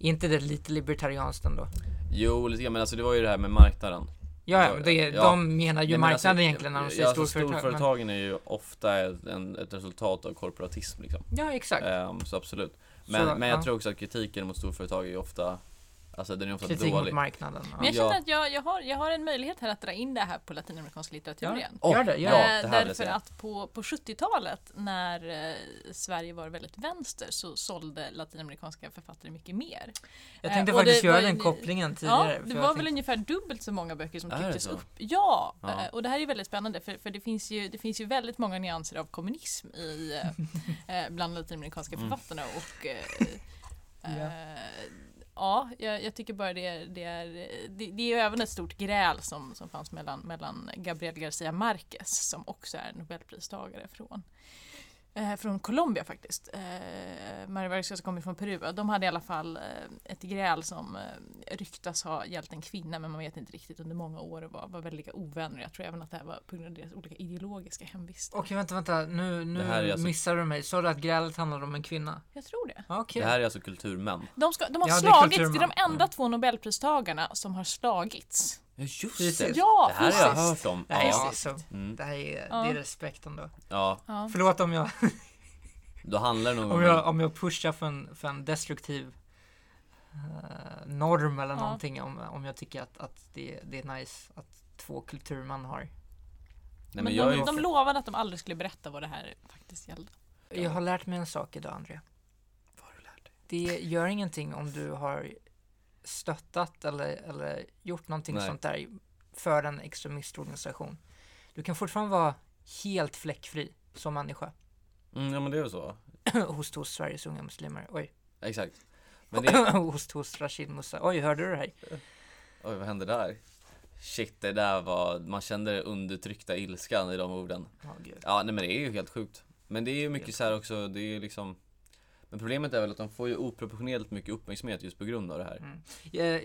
[SPEAKER 2] Är inte det lite libertarianskt ändå?
[SPEAKER 1] Jo, lite grann, men alltså det var ju det här med marknaden.
[SPEAKER 2] Ja,
[SPEAKER 1] Ja,
[SPEAKER 2] ja, det,
[SPEAKER 1] ja.
[SPEAKER 2] de menar ju
[SPEAKER 1] Nej, men
[SPEAKER 2] marknaden
[SPEAKER 1] alltså,
[SPEAKER 2] egentligen när de
[SPEAKER 1] ja,
[SPEAKER 2] säger
[SPEAKER 1] alltså,
[SPEAKER 2] storföretag. men-
[SPEAKER 1] Storföretagen är ju ofta ett, en, ett resultat av korporatism liksom.
[SPEAKER 2] Ja, exakt.
[SPEAKER 1] Ehm, så absolut. Men,
[SPEAKER 2] Så,
[SPEAKER 1] men jag
[SPEAKER 2] ja.
[SPEAKER 1] tror också att kritiken mot storföretag är ju ofta, alltså den är ofta
[SPEAKER 2] Kritik mot
[SPEAKER 1] dålig.
[SPEAKER 2] marknaden.
[SPEAKER 3] Men
[SPEAKER 2] Ja.
[SPEAKER 3] jag känner
[SPEAKER 1] Ja.
[SPEAKER 3] att jag, jag, har, jag har en möjlighet här att dra in det här på latinamerikansk litteratur
[SPEAKER 2] Ja.
[SPEAKER 3] igen.
[SPEAKER 1] Åh,
[SPEAKER 2] Gör det, gör
[SPEAKER 1] ja,
[SPEAKER 2] det.
[SPEAKER 3] Eh,
[SPEAKER 1] det här vill jag
[SPEAKER 3] Därför
[SPEAKER 1] säga.
[SPEAKER 3] att på, på 70-talet när eh, Sverige var väldigt vänster så sålde latinamerikanska författare mycket mer.
[SPEAKER 2] Jag tänkte
[SPEAKER 3] Eh, och
[SPEAKER 2] faktiskt
[SPEAKER 3] det
[SPEAKER 2] göra
[SPEAKER 3] var
[SPEAKER 2] den
[SPEAKER 3] ju-
[SPEAKER 2] kopplingen tidigare.
[SPEAKER 3] ja,
[SPEAKER 2] för
[SPEAKER 3] det
[SPEAKER 2] jag
[SPEAKER 3] var väl
[SPEAKER 2] tänkte-
[SPEAKER 3] ungefär dubbelt så många böcker som
[SPEAKER 1] Är det
[SPEAKER 3] trycktes
[SPEAKER 1] så?
[SPEAKER 3] upp. Ja,
[SPEAKER 1] Ja.
[SPEAKER 3] eh, och det här är väldigt spännande för, för det, finns ju, det finns ju väldigt många nyanser av kommunism i, eh, eh, bland latinamerikanska
[SPEAKER 1] Mm.
[SPEAKER 3] författarna. Och, eh, eh, ja, jag, jag tycker bara det är, det är, det, det är ju även ett stort gräl som, som fanns mellan, mellan Gabriel Garcia Marquez som också är nobelpristagare från Eh, från Colombia faktiskt. Eh, Mario Vargas kommer från Peru. De hade i alla fall eh, ett gräl som eh, ryktas ha gällt en kvinna men man vet inte riktigt under många år och var, var väldigt ovänner. Jag tror även att det här var på grund av deras olika ideologiska hemvist.
[SPEAKER 2] Okej, vänta, vänta. Nu,
[SPEAKER 1] Det här är
[SPEAKER 2] nu
[SPEAKER 1] alltså-
[SPEAKER 2] missar du mig. Sa du att grälet handlade om en kvinna?
[SPEAKER 3] Jag tror det.
[SPEAKER 2] Ja, Okej.
[SPEAKER 1] Det här är alltså kulturmän.
[SPEAKER 3] De, ska, de har
[SPEAKER 2] Ja, det är
[SPEAKER 3] slagits. Det är,
[SPEAKER 2] kulturman.
[SPEAKER 3] de enda två nobelpristagarna som har slagits.
[SPEAKER 1] Ja just det!
[SPEAKER 2] Precis.
[SPEAKER 3] Ja,
[SPEAKER 1] Det här har jag
[SPEAKER 3] fysiskt.
[SPEAKER 1] hört om.
[SPEAKER 2] Nej,
[SPEAKER 1] Ja.
[SPEAKER 2] så,
[SPEAKER 1] Mm,
[SPEAKER 2] det här är,
[SPEAKER 3] Ja.
[SPEAKER 2] det är respekt ändå.
[SPEAKER 1] ja,
[SPEAKER 3] Ja.
[SPEAKER 2] Förlåt om jag,
[SPEAKER 1] då handlar det nog
[SPEAKER 2] om
[SPEAKER 1] om...
[SPEAKER 2] jag, om jag pushar för en, för en destruktiv eh, norm eller
[SPEAKER 3] Ja.
[SPEAKER 2] någonting. Om, om jag tycker att, att det, det är nice att två kulturman har.
[SPEAKER 1] Nej, men
[SPEAKER 3] men
[SPEAKER 1] jag är
[SPEAKER 3] de,
[SPEAKER 1] ju...
[SPEAKER 3] de lovade att de aldrig skulle berätta vad det här faktiskt gällde.
[SPEAKER 2] Jag har lärt mig en sak idag, Andrea.
[SPEAKER 1] Vad har du lärt dig?
[SPEAKER 2] Det gör ingenting om du har stöttat eller, eller gjort någonting
[SPEAKER 1] Nej.
[SPEAKER 2] sånt där för en extremistorganisation. Du kan fortfarande vara helt fläckfri som människa
[SPEAKER 1] Mm, ja men det är väl så.
[SPEAKER 2] hos, hos Sveriges unga muslimer. Oj,
[SPEAKER 1] Exakt. Men det...
[SPEAKER 2] hos, hos Rashid Musa. Oj, hörde du det här?
[SPEAKER 1] Oj, vad hände där? Shit, det där var... Man kände den undertryckta ilskan i de orden.
[SPEAKER 2] Ja, gud.
[SPEAKER 1] Ja, nej men det är ju helt sjukt. Men det är ju mycket så här också, det är ju liksom Men problemet är väl att de får ju oproportionerligt mycket uppmärksamhet just på grund av det här.
[SPEAKER 2] Eh,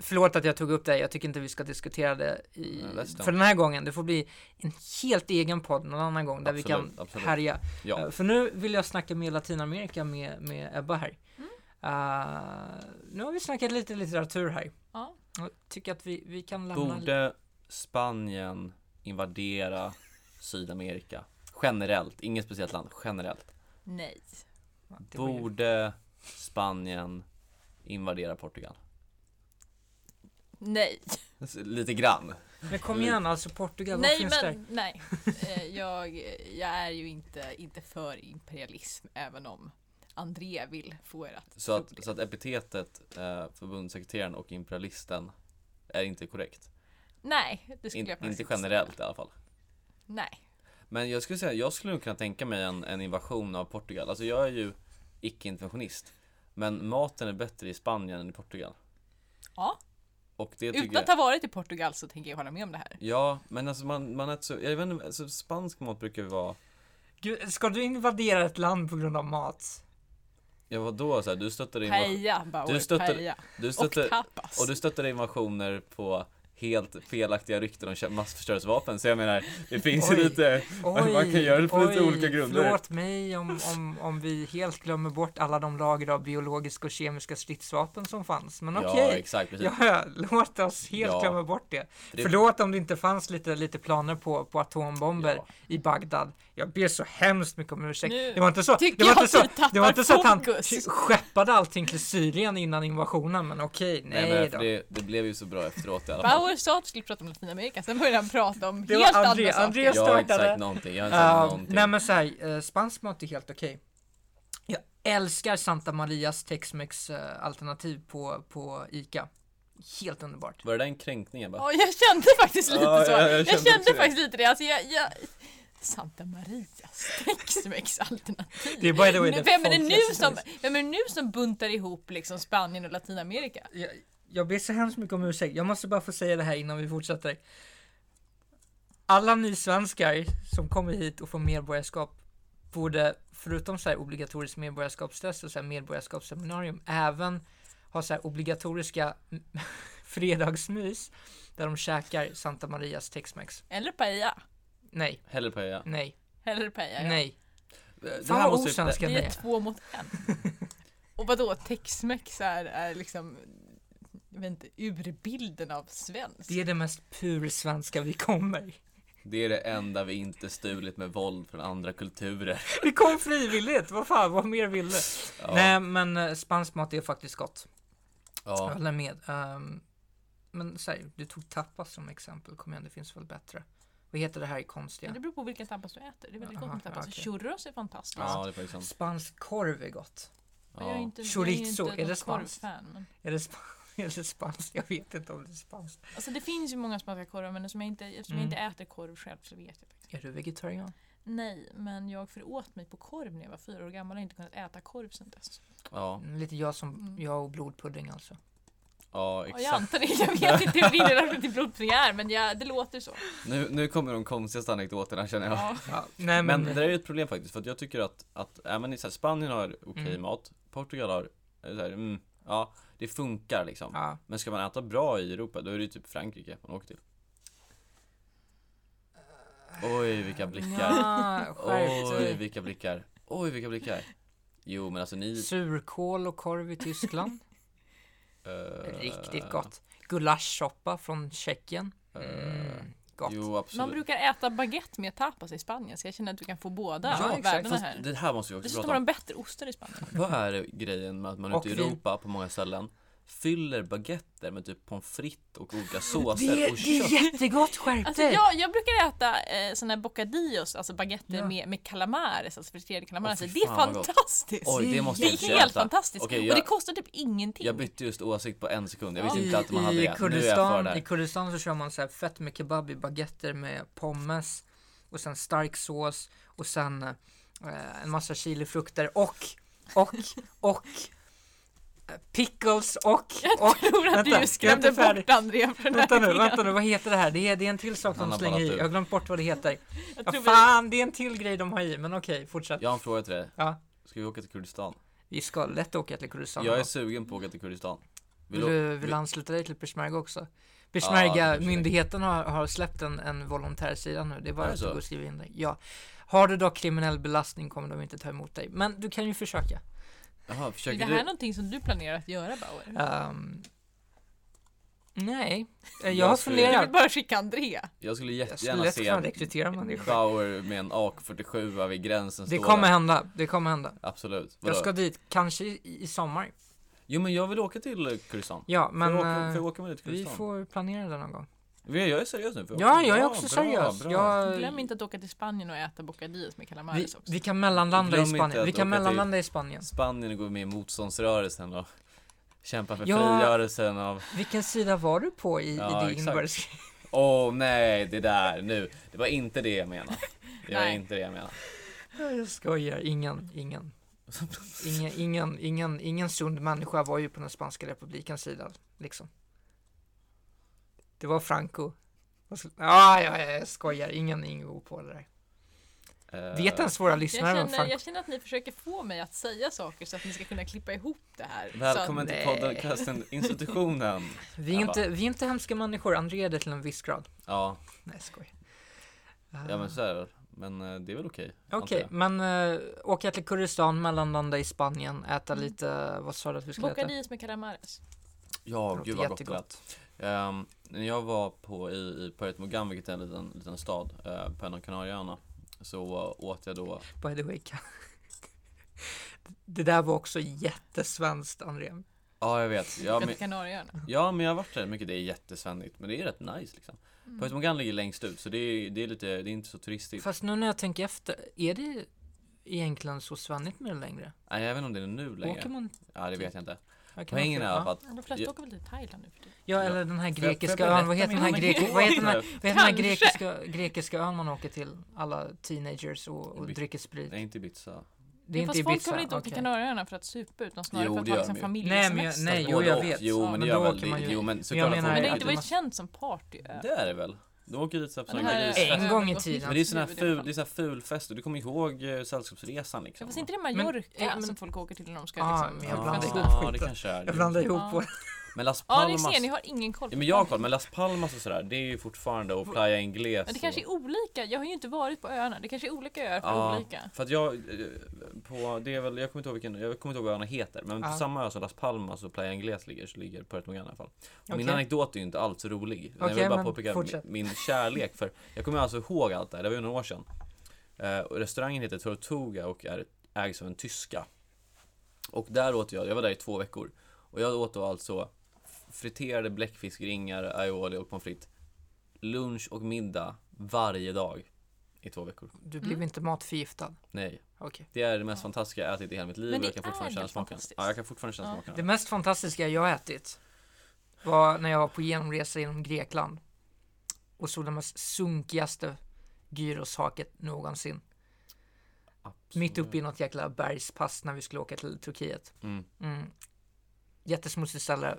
[SPEAKER 2] Förlåt att jag tog upp det här. Jag tycker inte vi ska diskutera det i,
[SPEAKER 1] Nej, resten.
[SPEAKER 2] för den här gången. Det får bli en helt egen podd någon annan gång där vi
[SPEAKER 1] Absolut,
[SPEAKER 2] kan
[SPEAKER 1] absolut.
[SPEAKER 2] härja.
[SPEAKER 1] Ja,
[SPEAKER 2] Eh, För nu vill jag snacka med Latinamerika med, med Ebba här.
[SPEAKER 3] Mm.
[SPEAKER 2] Eh, nu har vi snackat lite litteratur här.
[SPEAKER 3] Ja.
[SPEAKER 2] Jag tycker att vi, vi kan lämna...
[SPEAKER 1] borde Spanien invadera Sydamerika? Generellt, inget speciellt land, generellt.
[SPEAKER 3] Nej.
[SPEAKER 2] Ja, det var ju-
[SPEAKER 1] Borde Spanien invadera Portugal?
[SPEAKER 3] Nej.
[SPEAKER 1] Lite grann.
[SPEAKER 2] Men kom igen, alltså Portugal, vad
[SPEAKER 3] Nej
[SPEAKER 2] finns där?
[SPEAKER 3] men nej, Eh, jag, jag är ju inte, inte för imperialism även om André vill få er att
[SPEAKER 1] Så
[SPEAKER 3] tro det.
[SPEAKER 1] att, så att epitetet eh, förbundssekreteraren och imperialisten är inte korrekt.
[SPEAKER 3] Nej, det skulle
[SPEAKER 1] In,
[SPEAKER 3] jag faktiskt
[SPEAKER 1] inte
[SPEAKER 3] inte säga.
[SPEAKER 1] generellt i alla fall.
[SPEAKER 3] Nej.
[SPEAKER 1] Men jag skulle säga, jag skulle nog kunna tänka mig en, en invasion av Portugal. Alltså jag är ju icke-interventionist. Men maten är bättre i Spanien än i Portugal.
[SPEAKER 3] Ja,
[SPEAKER 1] Och det tycker
[SPEAKER 3] utan
[SPEAKER 1] jag...
[SPEAKER 3] att ha varit i Portugal så tänker jag hålla med om det här.
[SPEAKER 1] Ja, men alltså man, man äter så, jag vet inte, alltså spansk mat brukar ju vara,
[SPEAKER 2] Gud, ska du invadera ett land på grund av mat?
[SPEAKER 1] ja vadå så här, du stöttade invasioner,
[SPEAKER 3] Paella, bara
[SPEAKER 1] Du
[SPEAKER 3] du
[SPEAKER 1] stöttar-
[SPEAKER 3] paella.
[SPEAKER 1] du
[SPEAKER 3] Och
[SPEAKER 1] stöttade,
[SPEAKER 3] tapas.
[SPEAKER 1] och du stöttade invasioner på helt felaktiga rykten om kö- massförstörelsevapen. Så jag menar, det finns ju
[SPEAKER 2] Oj.
[SPEAKER 1] lite,
[SPEAKER 2] Oj,
[SPEAKER 1] man kan göra det på lite
[SPEAKER 2] oj,
[SPEAKER 1] olika grunder.
[SPEAKER 2] Förlåt mig om, om, om vi helt glömmer bort alla de lager av biologiska och kemiska stridsvapen som fanns, men
[SPEAKER 1] ja
[SPEAKER 2] okej.
[SPEAKER 1] exakt, precis.
[SPEAKER 2] Ja, ja, låt oss helt
[SPEAKER 1] Ja.
[SPEAKER 2] glömma bort det.
[SPEAKER 1] För det-
[SPEAKER 2] Förlåt om det inte fanns lite, lite planer på, på atombomber
[SPEAKER 1] Ja.
[SPEAKER 2] i Bagdad. Jag ber så hemskt mycket om ursäkt.
[SPEAKER 3] Nu
[SPEAKER 2] det var inte så,
[SPEAKER 3] tycker
[SPEAKER 2] det var
[SPEAKER 3] jag
[SPEAKER 2] inte så,
[SPEAKER 3] att du tappar
[SPEAKER 2] det var inte så att han
[SPEAKER 3] fokus.
[SPEAKER 2] ty- skeppade allting till Syrien innan invasionen, men okej, nej,
[SPEAKER 1] Nej,
[SPEAKER 2] då.
[SPEAKER 1] men det, det blev ju så bra efteråt i alla fall.
[SPEAKER 3] Bauer sa att vi skulle prata om Latinamerika, sen började han prata om
[SPEAKER 2] Det var
[SPEAKER 3] helt
[SPEAKER 2] André-
[SPEAKER 3] andra saker.
[SPEAKER 2] André-
[SPEAKER 1] Jag har inte
[SPEAKER 2] startade.
[SPEAKER 1] sagt någonting, jag har inte sagt
[SPEAKER 2] Uh,
[SPEAKER 1] någonting.
[SPEAKER 2] nej men såhär, uh, spansk mat är helt okej. Jag älskar Santa Marias Tex-Mex eh, alternativ på, på ICA. Helt underbart.
[SPEAKER 1] Var det där en kränkning Ebba?
[SPEAKER 3] Ja, jag kände faktiskt lite
[SPEAKER 1] Ja,
[SPEAKER 3] så.
[SPEAKER 1] jag-
[SPEAKER 3] Jag,
[SPEAKER 1] jag kände
[SPEAKER 3] kände,
[SPEAKER 1] också det.
[SPEAKER 3] faktiskt lite det. Alltså, jag, jag... Santa Marias tex alternativ.
[SPEAKER 2] Det är by the way
[SPEAKER 3] Nu-
[SPEAKER 2] det
[SPEAKER 3] vem, är det nu
[SPEAKER 2] folkligaste
[SPEAKER 3] som, vem är det nu som buntar ihop liksom Spanien och Latinamerika?
[SPEAKER 2] jag, jag ber så hemskt mycket om ursäkt. Jag måste bara få säga det här innan vi fortsätter. Alla ni svenskar som kommer hit och får medborgarskap borde, förutom så här obligatoriskt medborgarskapstest och så här medborgarskapsseminarium, även ha så här obligatoriska fredagsmys där de käkar Santa Marias Tex-Mex.
[SPEAKER 3] Eller paella?
[SPEAKER 2] Nej,
[SPEAKER 1] Hellre paella.
[SPEAKER 2] nej,
[SPEAKER 3] Hellre paella. ja.
[SPEAKER 2] nej.
[SPEAKER 1] Det
[SPEAKER 2] Fan vad
[SPEAKER 1] måste ju-
[SPEAKER 2] osvenska
[SPEAKER 3] Vi
[SPEAKER 2] ni
[SPEAKER 3] är
[SPEAKER 2] är.
[SPEAKER 3] två mot en. Och vadå, tex-mex är, är liksom, jag vet inte, urbilden av svensk.
[SPEAKER 2] Det är det mest pursvenska vi kommer.
[SPEAKER 1] Det är det enda vi inte stulit med våld från andra kulturer.
[SPEAKER 2] Vi kom frivilligt, vad fan, vad mer vill du?
[SPEAKER 1] Ja,
[SPEAKER 2] Nej men eh, spansk mat är faktiskt gott. Jag
[SPEAKER 1] ja.
[SPEAKER 2] håller med. Ehm, men säg, du tog tapas som exempel, kom igen det finns väl bättre. Vad heter det här konstiga?
[SPEAKER 3] Men det beror på vilken tapas du äter. Det är väldigt gott
[SPEAKER 2] Aha,
[SPEAKER 3] med tapas.
[SPEAKER 2] okej.
[SPEAKER 3] Churros är fantastiskt.
[SPEAKER 1] ja det är faktiskt sant.
[SPEAKER 2] Spansk korv är gott.
[SPEAKER 3] Och Jag är
[SPEAKER 1] Ja.
[SPEAKER 3] inte,
[SPEAKER 2] Chorizo,
[SPEAKER 3] jag är,
[SPEAKER 2] är det
[SPEAKER 3] inte någon
[SPEAKER 2] spanskt?
[SPEAKER 3] korvfan, men...
[SPEAKER 2] Är det, sp- är det spanskt? Jag vet inte om det är spanskt.
[SPEAKER 3] Alltså det finns ju många spanska korvar men eftersom jag inte, eftersom jag
[SPEAKER 2] Mm.
[SPEAKER 3] inte äter korv själv så vet jag faktiskt.
[SPEAKER 2] Är du vegetarian?
[SPEAKER 3] Nej, men jag föråt mig på korv när jag var fyra år gammal och har inte kunnat äta korv sedan dess.
[SPEAKER 1] ja,
[SPEAKER 2] Mm, Lite jag som
[SPEAKER 3] Mm.
[SPEAKER 2] jag och blodpudding alltså.
[SPEAKER 1] ja
[SPEAKER 3] Ja, jag
[SPEAKER 1] exakt.
[SPEAKER 3] antar det. Jag vet inte hur din relation till blodfri är men jag, det låter så.
[SPEAKER 1] Nu, nu kommer de konstigaste anekdoterna känner jag.
[SPEAKER 3] Ja.
[SPEAKER 2] Ja, nej men,
[SPEAKER 1] Men det där är ju ett problem faktiskt för att jag tycker att, att även i så här, Spanien har okej
[SPEAKER 2] Mm.
[SPEAKER 1] mat, Portugal har, eh, så här, mm, ja det funkar liksom.
[SPEAKER 2] ja,
[SPEAKER 1] Men ska man äta bra i Europa då är det ju typ Frankrike man åker till. Oj vilka blickar.
[SPEAKER 2] Ja, skärp
[SPEAKER 1] Oj
[SPEAKER 2] dig.
[SPEAKER 1] vilka blickar. Oj vilka blickar. Jo men alltså ni...
[SPEAKER 2] Surkål och korv i Tyskland.
[SPEAKER 1] eh,
[SPEAKER 2] Riktigt gott. Gulaschsoppa från Tjeckien.
[SPEAKER 1] Eh,
[SPEAKER 2] Mm, gott.
[SPEAKER 1] Jo
[SPEAKER 3] Man
[SPEAKER 1] absolut.
[SPEAKER 3] brukar äta baguette med tapas i Spanien så jag känner att du kan få båda
[SPEAKER 2] Ja,
[SPEAKER 3] ja,
[SPEAKER 2] exakt.
[SPEAKER 3] världarna
[SPEAKER 1] Fast
[SPEAKER 3] här.
[SPEAKER 1] det här måste vi också
[SPEAKER 3] Dessutom
[SPEAKER 1] prata
[SPEAKER 3] har
[SPEAKER 1] om.
[SPEAKER 3] de bättre ostar i Spanien.
[SPEAKER 1] Vad är grejen med att man
[SPEAKER 2] Och
[SPEAKER 1] ute i
[SPEAKER 2] vin.
[SPEAKER 1] Europa på många ställen fyller baguetter med typ pommes frites och olika
[SPEAKER 2] Det,
[SPEAKER 1] såser och
[SPEAKER 2] det är
[SPEAKER 1] kött?
[SPEAKER 2] jättegott, skärp
[SPEAKER 3] Alltså
[SPEAKER 2] dig!
[SPEAKER 3] jag, jag brukar äta eh, såna här bocadillos, alltså baguetter
[SPEAKER 2] Ja.
[SPEAKER 3] med, med calamares, alltså friterade calamares.
[SPEAKER 1] Åh, fy
[SPEAKER 3] det är
[SPEAKER 1] fan, vad gott.
[SPEAKER 3] fantastiskt!
[SPEAKER 1] Oj, det måste
[SPEAKER 3] Det
[SPEAKER 1] jag
[SPEAKER 3] är
[SPEAKER 1] inte
[SPEAKER 3] helt
[SPEAKER 1] köpa.
[SPEAKER 3] fantastiskt!
[SPEAKER 1] Okej,
[SPEAKER 3] Och det
[SPEAKER 1] jag,
[SPEAKER 3] kostar typ ingenting.
[SPEAKER 1] jag bytte just åsikt på en sekund. Jag visste
[SPEAKER 3] Ja.
[SPEAKER 1] inte att man hade
[SPEAKER 2] I,
[SPEAKER 1] det. Nu är jag för
[SPEAKER 2] Kurdistan, I
[SPEAKER 1] där.
[SPEAKER 2] Kurdistan så kör man så här fett med kebab i baguetter med pommes och sen stark sås och sen eh, en massa chilifrukter och, och, och eh, pickles och, och
[SPEAKER 3] jag tror att
[SPEAKER 2] Vänta,
[SPEAKER 3] du
[SPEAKER 2] jag är
[SPEAKER 3] skrämde
[SPEAKER 2] inte färdig.
[SPEAKER 3] bort Andrea från
[SPEAKER 2] Vänta nu,
[SPEAKER 3] den här
[SPEAKER 2] vänta nu, vad heter det här? Det är, det är en till sak
[SPEAKER 1] Han
[SPEAKER 2] de
[SPEAKER 1] har
[SPEAKER 2] slänger
[SPEAKER 1] ballat
[SPEAKER 2] i,
[SPEAKER 1] ur.
[SPEAKER 2] jag har glömt bort vad det heter.
[SPEAKER 3] idén. Jag
[SPEAKER 2] Ja,
[SPEAKER 3] tror vi-
[SPEAKER 2] fan, det är en till grej de har i, men okej, fortsätt.
[SPEAKER 1] Jag har en fråga till dig.
[SPEAKER 2] Ja.
[SPEAKER 1] Ska vi åka till Kurdistan?
[SPEAKER 2] Vi ska lätt åka till Kurdistan.
[SPEAKER 1] Jag är
[SPEAKER 2] då.
[SPEAKER 1] sugen på att åka till Kurdistan.
[SPEAKER 2] Vill
[SPEAKER 1] å-
[SPEAKER 2] du, vill du ansluta dig till Peshmerga också? Peshmerga,
[SPEAKER 1] kanske det.
[SPEAKER 2] myndigheten har, har släppt en, en volontärsida nu, det är
[SPEAKER 1] Är
[SPEAKER 2] bara
[SPEAKER 1] det
[SPEAKER 2] att
[SPEAKER 1] så?
[SPEAKER 2] du går och skriver in dig. Ja. Har du då kriminell belastning kommer de inte ta emot dig, men du kan ju försöka.
[SPEAKER 1] Jaha,
[SPEAKER 3] Är det
[SPEAKER 1] försöker
[SPEAKER 3] här
[SPEAKER 1] du?
[SPEAKER 3] någonting som du planerar att göra Bauer?
[SPEAKER 2] Ehm, nej, Eh, jag
[SPEAKER 1] Jag
[SPEAKER 2] har
[SPEAKER 1] skulle-
[SPEAKER 3] Jag vill
[SPEAKER 2] funderat.
[SPEAKER 3] bara skicka Andrea.
[SPEAKER 1] Jag skulle
[SPEAKER 2] Jag skulle lätt kunna
[SPEAKER 1] jättegärna se
[SPEAKER 2] rekrytera människor.
[SPEAKER 1] Bauer med en AK47 vid gränsen
[SPEAKER 2] Det
[SPEAKER 1] stå
[SPEAKER 2] kommer
[SPEAKER 1] där.
[SPEAKER 2] hända, det kommer hända.
[SPEAKER 1] Absolut. Vadå?
[SPEAKER 2] Jag ska dit, kanske i, i sommar.
[SPEAKER 1] Jo men jag vill åka till Kurdistan.
[SPEAKER 2] Ja, men
[SPEAKER 1] får, jag åka, får
[SPEAKER 2] eh,
[SPEAKER 1] jag åka med dig till
[SPEAKER 2] vi
[SPEAKER 1] Kurdistan?
[SPEAKER 2] får planera det någon gång.
[SPEAKER 1] Vi- Jag är seriös nu. får
[SPEAKER 2] Ja,
[SPEAKER 1] åka?
[SPEAKER 2] jag är också seriös.
[SPEAKER 1] Bra, bra.
[SPEAKER 2] Jag,
[SPEAKER 3] Glöm inte att åka till Spanien och äta bocadillos med
[SPEAKER 2] vi,
[SPEAKER 3] calamares också.
[SPEAKER 2] vi kan mellanlanda i
[SPEAKER 1] Glöm inte
[SPEAKER 2] Spanien.
[SPEAKER 1] att
[SPEAKER 2] Vi kan
[SPEAKER 1] åka till-
[SPEAKER 2] mellanlanda i Spanien.
[SPEAKER 1] Spanien går med i motståndsrörelsen och kämpar för
[SPEAKER 2] Ja.
[SPEAKER 1] frigörelsen av
[SPEAKER 2] Vilken sida var du på i,
[SPEAKER 1] Ja,
[SPEAKER 2] i det
[SPEAKER 1] exakt.
[SPEAKER 2] inbördeskrig?
[SPEAKER 1] Åh nej, det där nu. Det var inte det jag menade. Det var
[SPEAKER 3] Nej.
[SPEAKER 1] inte det jag menade.
[SPEAKER 2] Ja, Jag skojar, ingen, ingen. Ingen, ingen, ingen, ingen sund människa var ju på den spanska republikens sida, liksom. Det var Franco. Vad skulle- Ja, ja, ja, jag skojar, ingen Ingo på det där.
[SPEAKER 1] Eh,
[SPEAKER 2] Vet ens våra
[SPEAKER 3] Jag
[SPEAKER 2] lyssnare vem
[SPEAKER 3] känner,
[SPEAKER 2] Franco
[SPEAKER 3] jag känner att ni försöker få mig att säga saker så att ni ska kunna klippa ihop det här.
[SPEAKER 1] Välkommen till
[SPEAKER 2] Nej.
[SPEAKER 1] podcasten Institutionen.
[SPEAKER 2] vi är? Inte, vi är inte hemska människor, André är det till en viss grad.
[SPEAKER 1] Ja,
[SPEAKER 2] Nej, jag skojar. Eh,
[SPEAKER 1] ja men så är det väl. Men eh, det är väl okej. antar
[SPEAKER 2] Okej,
[SPEAKER 1] jag.
[SPEAKER 2] men äh, åka till Kurdistan, mellanlanda i Spanien, äta
[SPEAKER 3] Mm.
[SPEAKER 2] lite, vad sa du att vi
[SPEAKER 3] Så,
[SPEAKER 2] skulle äta?
[SPEAKER 3] bocadillos med calamares.
[SPEAKER 1] Ja,
[SPEAKER 2] Låter
[SPEAKER 1] gud vad gott det
[SPEAKER 2] jättegott.
[SPEAKER 1] lät. Ehm, när jag var på i, i Puerto Mogan, vilket är en liten, liten stad eh, på en av Kanarieöarna, så åt jag då
[SPEAKER 2] By the way, kan... Det där var också jättesvenskt, André.
[SPEAKER 1] Ja, jag vet. Ja,
[SPEAKER 3] Åka
[SPEAKER 1] men,
[SPEAKER 3] till Kanarieöarna.
[SPEAKER 1] ja, men jag har varit där mycket. Det är jättesvennigt, men det är rätt nice liksom.
[SPEAKER 2] Mm.
[SPEAKER 1] Puerto Mogan ligger längst ut, så det är, det är lite, det är inte så turistigt.
[SPEAKER 2] Fast nu när jag tänker efter, är det egentligen så svennigt med det längre?
[SPEAKER 1] Nej, jag vet inte om det är nu längre.
[SPEAKER 2] Åker man?
[SPEAKER 1] Ja, det vet jag inte.
[SPEAKER 2] jag kan
[SPEAKER 1] Poängen
[SPEAKER 2] ha
[SPEAKER 1] är i
[SPEAKER 2] fel.
[SPEAKER 1] alla fall
[SPEAKER 2] Ja.
[SPEAKER 1] att
[SPEAKER 3] De flesta
[SPEAKER 1] Ja.
[SPEAKER 3] åker väl till Thailand nu för tiden.
[SPEAKER 2] ja, eller den här
[SPEAKER 1] Får jag-
[SPEAKER 2] grekiska
[SPEAKER 1] får jag
[SPEAKER 2] ön, vad heter den här,
[SPEAKER 1] berätta min
[SPEAKER 2] grek... vad heter den här,
[SPEAKER 1] anekdot?
[SPEAKER 2] vad heter den här
[SPEAKER 3] Kanske.
[SPEAKER 2] grekiska, grekiska ön man åker till? Alla teenagers och, och
[SPEAKER 1] Ibiza.
[SPEAKER 2] dricker sprit.
[SPEAKER 1] Nej, inte Ibiza.
[SPEAKER 2] Det är inte
[SPEAKER 3] Fast folk har väl
[SPEAKER 2] Ibiza?
[SPEAKER 3] inte åkt till
[SPEAKER 2] okej.
[SPEAKER 3] Kanarieöarna för att supa utan snarare
[SPEAKER 1] Jo,
[SPEAKER 3] för att
[SPEAKER 1] det
[SPEAKER 3] ha
[SPEAKER 1] gör
[SPEAKER 3] liksom
[SPEAKER 1] de ju.
[SPEAKER 2] Nej,
[SPEAKER 3] familjesemester.
[SPEAKER 2] men jag- nej,
[SPEAKER 1] Fast
[SPEAKER 2] jo,
[SPEAKER 1] både
[SPEAKER 2] jag
[SPEAKER 1] och.
[SPEAKER 2] vet.
[SPEAKER 1] Jo,
[SPEAKER 3] Ja,
[SPEAKER 1] men
[SPEAKER 2] men
[SPEAKER 1] det
[SPEAKER 2] då
[SPEAKER 1] gör väl
[SPEAKER 2] åker man
[SPEAKER 1] det.
[SPEAKER 2] ju-
[SPEAKER 1] Jo, men
[SPEAKER 2] jag
[SPEAKER 1] såklart
[SPEAKER 2] menar-
[SPEAKER 1] att
[SPEAKER 3] Men
[SPEAKER 1] folk
[SPEAKER 3] det har
[SPEAKER 1] åker
[SPEAKER 3] inte
[SPEAKER 1] dit.
[SPEAKER 3] varit känt som partyö.
[SPEAKER 1] Det är det väl? De åker dit så här på
[SPEAKER 3] Den
[SPEAKER 1] såna
[SPEAKER 3] här
[SPEAKER 1] grisfester.
[SPEAKER 2] En gång i tiden.
[SPEAKER 1] Men det är sån här
[SPEAKER 3] Huvud i alla
[SPEAKER 1] ful,
[SPEAKER 3] fall.
[SPEAKER 1] det är sån här ful fest och du kommer ihåg eh, Sällskapsresan
[SPEAKER 3] Ja,
[SPEAKER 1] liksom.
[SPEAKER 3] fast inte det
[SPEAKER 2] Men-
[SPEAKER 3] Mallorca
[SPEAKER 2] eh, men-
[SPEAKER 3] som folk åker till när de ska
[SPEAKER 2] Ja,
[SPEAKER 3] liksom,
[SPEAKER 2] men jag
[SPEAKER 3] för
[SPEAKER 2] blandar
[SPEAKER 3] att-
[SPEAKER 2] ihop
[SPEAKER 1] Ja, det
[SPEAKER 2] skiten.
[SPEAKER 1] kanske är.
[SPEAKER 2] Jag blandar ihop
[SPEAKER 3] Ja.
[SPEAKER 2] våra
[SPEAKER 1] Men Las
[SPEAKER 3] Ja, ni
[SPEAKER 1] Palmas...
[SPEAKER 3] ser, ni har ingen koll.
[SPEAKER 1] Ja, men jag har koll, men Las Palmas och sådär, det är ju fortfarande och Playa Ingles.
[SPEAKER 3] Men det kanske
[SPEAKER 1] och...
[SPEAKER 3] är olika. Jag har ju inte varit på öarna. Det kanske är olika öar för olika.
[SPEAKER 1] för att jag, eh, på, det är väl, jag kommer inte ihåg vilken, jag kommer inte ihåg vad öarna heter, men på
[SPEAKER 2] Ja.
[SPEAKER 1] samma ö som Las Palmas och Playa Ingles ligger, så ligger Puerto Morgana i alla fall. Och Min
[SPEAKER 2] Okej.
[SPEAKER 1] anekdot är ju inte alls rolig. utan jag
[SPEAKER 2] Okej,
[SPEAKER 1] vill bara
[SPEAKER 2] men
[SPEAKER 1] påpeka min,
[SPEAKER 2] fortsätt.
[SPEAKER 1] min kärlek för, jag kommer alltså ihåg allt det här, det var ju några år sedan. Eh, och restaurangen heter Tortuga och är, ägs av en tyska. Och där åt jag, jag var där i två veckor. Och jag åt då alltså friterade bläckfiskringar, aioli och pommes frites. Lunch och middag varje dag i två veckor.
[SPEAKER 2] Du
[SPEAKER 3] Mm.
[SPEAKER 2] blev inte matförgiftad.
[SPEAKER 1] Nej,
[SPEAKER 2] Okej.
[SPEAKER 1] det är det mest fantastiska jag ätit i hela mitt liv och
[SPEAKER 3] Men det
[SPEAKER 1] jag kan
[SPEAKER 3] är
[SPEAKER 1] fortfarande känna
[SPEAKER 3] helt
[SPEAKER 1] smaken.
[SPEAKER 3] fantastiskt.
[SPEAKER 1] Ja, jag kan fortfarande känna
[SPEAKER 3] Ja.
[SPEAKER 1] smaken. av
[SPEAKER 2] Det
[SPEAKER 1] det.
[SPEAKER 2] mest fantastiska jag ätit var när jag var på genomresa genom Grekland och såg det mest sunkigaste gyroshaket någonsin. Mitt uppe i något jäkla bergspass när vi skulle åka till Turkiet.
[SPEAKER 1] Mm.
[SPEAKER 2] Mm. Jättesmutsig ställe.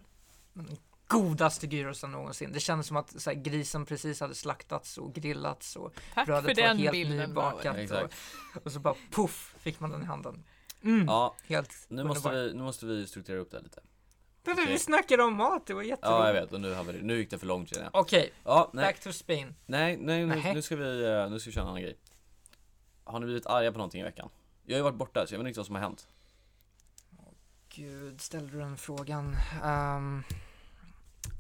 [SPEAKER 2] men den Godaste gyrosen någonsin. Det kändes som att så här, grisen precis hade slaktats och grillats och
[SPEAKER 3] Tack för
[SPEAKER 2] brödet var
[SPEAKER 3] den
[SPEAKER 2] helt
[SPEAKER 3] bilden. Laura.
[SPEAKER 2] nybakat.
[SPEAKER 1] Exakt.
[SPEAKER 2] Och, och så bara puff fick man den i handen. Mm.
[SPEAKER 1] Ja,
[SPEAKER 2] Helt
[SPEAKER 1] nu måste,
[SPEAKER 2] underbart.
[SPEAKER 1] vi, nu måste vi strukturera upp det här lite.
[SPEAKER 2] Det där,
[SPEAKER 1] Okej.
[SPEAKER 2] Vi snackade om mat, det var jätteroligt.
[SPEAKER 1] Ja, jag vet och nu, har vi, nu gick det för långt känner jag.
[SPEAKER 2] Okej,
[SPEAKER 1] Ja, nej,
[SPEAKER 2] back to Spain.
[SPEAKER 1] nej, nej nu,
[SPEAKER 2] Nähä.
[SPEAKER 1] nu ska vi, eh, nu ska vi köra en annan grej. Har ni blivit arga på någonting i veckan? Jag har ju varit borta så jag vet inte vad som har hänt.
[SPEAKER 2] Gud, ställde du den frågan. Ehm,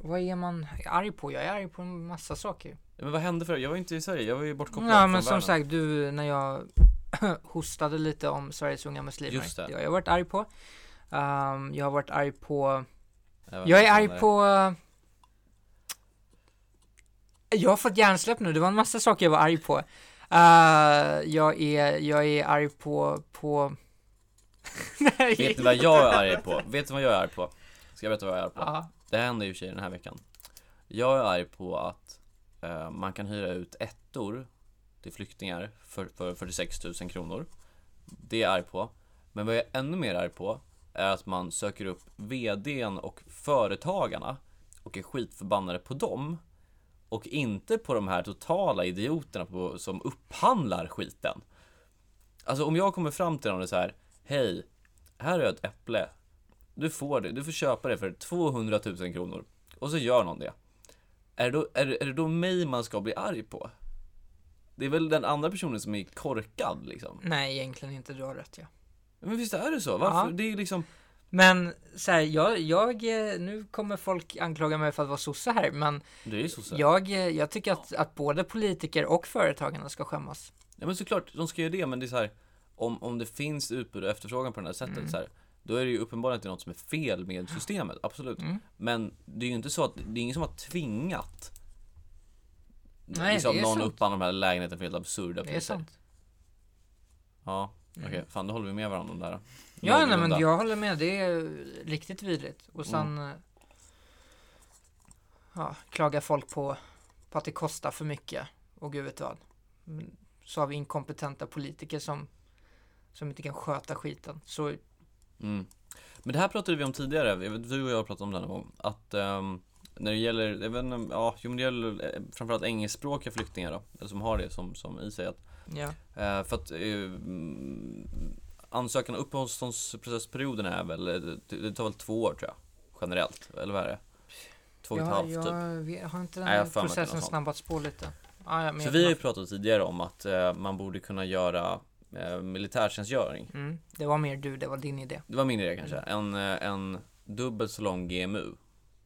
[SPEAKER 2] vad är man arg på? Jag är arg på en massa saker.
[SPEAKER 1] Ja, Men vad hände för Jag var ju inte i Sverige, jag var ju bortkopplad
[SPEAKER 2] ja,
[SPEAKER 1] från
[SPEAKER 2] men som
[SPEAKER 1] världen.
[SPEAKER 2] sagt, du, när jag hostade lite om Sveriges unga muslimer.
[SPEAKER 1] Just det.
[SPEAKER 2] har jag varit arg på. Ehm, jag har varit arg på...
[SPEAKER 1] Jag vet
[SPEAKER 2] Jag är
[SPEAKER 1] inte om det-
[SPEAKER 2] arg på... Jag har fått hjärnsläpp nu, det var en massa saker jag var arg på. Eh, jag, är, jag är arg på... på... Nej.
[SPEAKER 1] Vet ni vad jag är arg på? Vet ni vad jag är arg på? Ska jag berätta vad jag är arg på?
[SPEAKER 2] Ja.
[SPEAKER 1] Det händer ju i och för sig den här veckan. Jag är arg på att eh, man kan hyra ut ettor till flyktingar för, för 46 000 kronor. Det är jag arg på. Men vad jag är ännu mer arg på är att man söker upp VDn och företagarna och är skitförbannade på dem. Och inte på de här totala idioterna på, som upphandlar skiten. Alltså om jag kommer fram till dem och säger Hej, här har jag ett äpple. Du får det, du får köpa det för 200 000 kronor. Och så gör någon det. Är det då, är, det- är det då mig man ska bli arg på? Det är väl den andra personen som är korkad liksom.
[SPEAKER 2] Nej, egentligen inte. Du har rätt ja.
[SPEAKER 1] Men visst är det så? Varför?
[SPEAKER 2] Ja.
[SPEAKER 1] Det är liksom...
[SPEAKER 2] Men så här, jag, jag, eh, nu kommer folk anklaga mig för att vara sosse här, men
[SPEAKER 1] Det är ju sossar. Ja.
[SPEAKER 2] jag, eh, jag tycker att, att både politiker och företagarna ska skämmas.
[SPEAKER 1] men såklart, de ska göra det men det är så här. Om, om det finns utbud och efterfrågan på det här sättet
[SPEAKER 2] Mm.
[SPEAKER 1] så här. Då är det ju uppenbarligen inte något som är fel med systemet, absolut.
[SPEAKER 2] Mm.
[SPEAKER 1] Men det är ju inte så att, det är ingen som har tvingat
[SPEAKER 2] Nej,
[SPEAKER 1] liksom,
[SPEAKER 2] det är
[SPEAKER 1] någon
[SPEAKER 2] sant.
[SPEAKER 1] upphandla de här lägenheterna för helt absurda
[SPEAKER 2] Det är sant.
[SPEAKER 1] Ja, okej. Fan, då håller vi med varandra om det här.
[SPEAKER 2] Mm. Ja, nej, men
[SPEAKER 1] Någorlunda.
[SPEAKER 2] jag håller med. Det är riktigt vidrigt. Och sen eh, ja, klagar folk på, på att det kostar för mycket och gud vet vad. Mm, Så har vi inkompetenta politiker som, som inte kan sköta skiten. Så
[SPEAKER 1] Mm. Men det här pratade vi om tidigare, Jag vet, du och jag pratade om det här någon gång. Att ehm, när det gäller, jag vet inte, ja, jo, men det gäller eh, framförallt engelskspråkiga flyktingar då, eller som har det som, som i sig. Att,
[SPEAKER 2] ja,
[SPEAKER 1] eh, för att eh, mm, ansökan och uppehållstillståndsprocessperioden är väl, eh, det, det tar väl två år tror jag, generellt. Eller vad är det? Två och ett
[SPEAKER 2] jag,
[SPEAKER 1] halvt typ.
[SPEAKER 2] jag vet- har inte den
[SPEAKER 1] Nej, jag har
[SPEAKER 2] här
[SPEAKER 1] för mig att det är
[SPEAKER 2] processen
[SPEAKER 1] något sånt.
[SPEAKER 2] snabbats på lite. Ja, ja, men
[SPEAKER 1] Så
[SPEAKER 2] jag
[SPEAKER 1] vi har ju
[SPEAKER 2] kan-
[SPEAKER 1] pratat tidigare om att eh, man borde kunna göra eh, militärtjänstgöring
[SPEAKER 2] mm, det var mer du, det var din idé.
[SPEAKER 1] Det var min idé kanske. En, eh, en dubbelt så lång GMU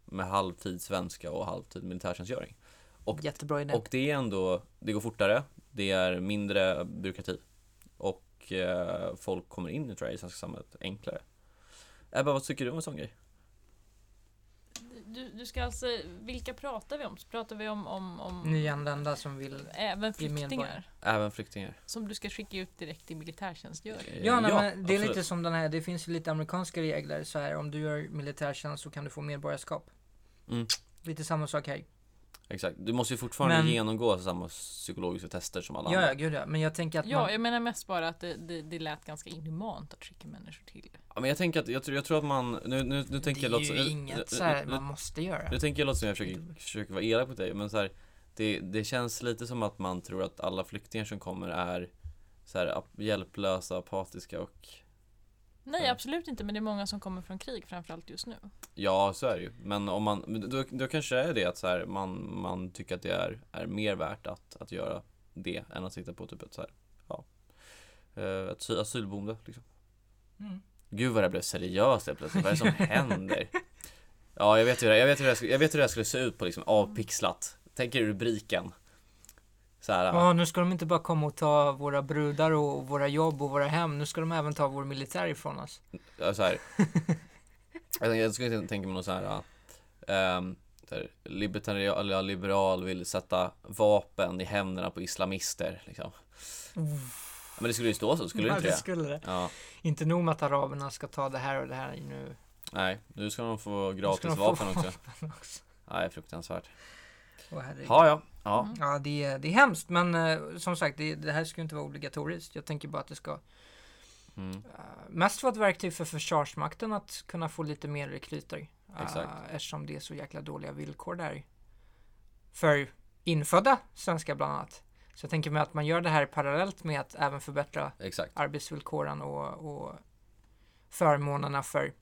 [SPEAKER 1] med halvtid svenska och halvtid militärtjänstgöring. Och-
[SPEAKER 2] Jättebra idé.
[SPEAKER 1] Och det är ändå, det går fortare, det är mindre byråkrati och eh, folk kommer in tror jag, i svenska samhället enklare. Ebba, vad tycker du om en sån grej?
[SPEAKER 3] Du, du ska alltså, vilka pratar vi om? Så pratar vi om, om, om
[SPEAKER 2] Nyanlända som vill...
[SPEAKER 1] Eh,
[SPEAKER 3] även
[SPEAKER 2] medborgare.
[SPEAKER 3] flyktingar
[SPEAKER 1] Även flyktingar.
[SPEAKER 3] som du ska skicka ut direkt i militärtjänstgöring?
[SPEAKER 1] Eh,
[SPEAKER 2] Ja, nej, men det är
[SPEAKER 1] absolut.
[SPEAKER 2] lite som den här, det finns ju lite amerikanska regler så här om du gör militärtjänst så kan du få medborgarskap.
[SPEAKER 1] Mm.
[SPEAKER 2] Lite samma sak här.
[SPEAKER 1] Exakt, du måste ju fortfarande
[SPEAKER 2] Men-
[SPEAKER 1] genomgå samma psykologiska tester som alla
[SPEAKER 2] Ja, ja,
[SPEAKER 1] andra.
[SPEAKER 2] gud ja. Men jag tänker att
[SPEAKER 3] Ja,
[SPEAKER 2] man...
[SPEAKER 3] jag menar mest bara att det, det, det lät ganska inhumant att skicka människor till.
[SPEAKER 1] Ja, men jag tänker att, jag tror, jag tror att man, nu, nu, nu tänker
[SPEAKER 2] det
[SPEAKER 1] jag
[SPEAKER 2] är
[SPEAKER 1] låt-
[SPEAKER 2] ju
[SPEAKER 1] nu- nu-
[SPEAKER 2] inget så här
[SPEAKER 1] nu-
[SPEAKER 2] man måste göra.
[SPEAKER 1] Nu tänker jag låta som jag försöker, försöker vara elak mot dig, men så här, det, det känns lite som att man tror att alla flyktingar som kommer är så här, ap- hjälplösa, apatiska och
[SPEAKER 3] Nej,
[SPEAKER 1] Nej.
[SPEAKER 3] absolut inte. Men det är många som kommer från krig, framförallt just nu.
[SPEAKER 1] Ja, så är det ju. Men om man, men då, då kanske det är det att så här, man, man tycker att det är, är mer värt att, att göra det än att sitta på typ ett så här, ja, eh, ett sy- asylboende. Liksom.
[SPEAKER 2] Mm.
[SPEAKER 1] Gud vad det här blev seriöst helt plötsligt. Vad är det som händer? Ja, jag vet hur det, jag vet hur det, här skulle- jag vet hur det här skulle se ut på liksom avpixlat. Tänk er rubriken. Så här,
[SPEAKER 2] Ja, nu ska de inte bara komma och ta våra brudar och våra jobb och våra hem. Nu ska de även ta vår militär ifrån oss.
[SPEAKER 1] Ja, så här. Jag, tänker- jag skulle inte tänka mig någon så här, ehm, så här libertarian, eller liberal vill sätta vapen i händerna på islamister. Liksom. Ja, Men det skulle ju stå så, skulle det
[SPEAKER 2] Ja,
[SPEAKER 1] inte det?
[SPEAKER 2] skulle det.
[SPEAKER 1] Ja,
[SPEAKER 2] Inte nog med att araberna ska ta det här och det här nu.
[SPEAKER 1] nej, nu ska de få
[SPEAKER 2] Nu
[SPEAKER 1] gratis
[SPEAKER 2] ska de få
[SPEAKER 1] vapen också.
[SPEAKER 2] också.
[SPEAKER 1] Nej, fruktansvärt.
[SPEAKER 2] Åh, herregud.
[SPEAKER 1] Ja, ja, ja.
[SPEAKER 3] Mm.
[SPEAKER 2] Ja, det är, det är hemskt, men eh, som sagt, det, det här ska ju inte vara obligatoriskt. Jag tänker bara att det ska
[SPEAKER 1] Mm.
[SPEAKER 2] eh, mest vara ett verktyg för Försvarsmakten att kunna få lite mer rekryter. Eh,
[SPEAKER 1] Exakt.
[SPEAKER 2] eftersom det är så jäkla dåliga villkor där. För infödda svenskar bland annat. Så jag tänker mig att man gör det här parallellt med att även förbättra
[SPEAKER 1] Exakt.
[SPEAKER 2] arbetsvillkoren och, och förmånerna för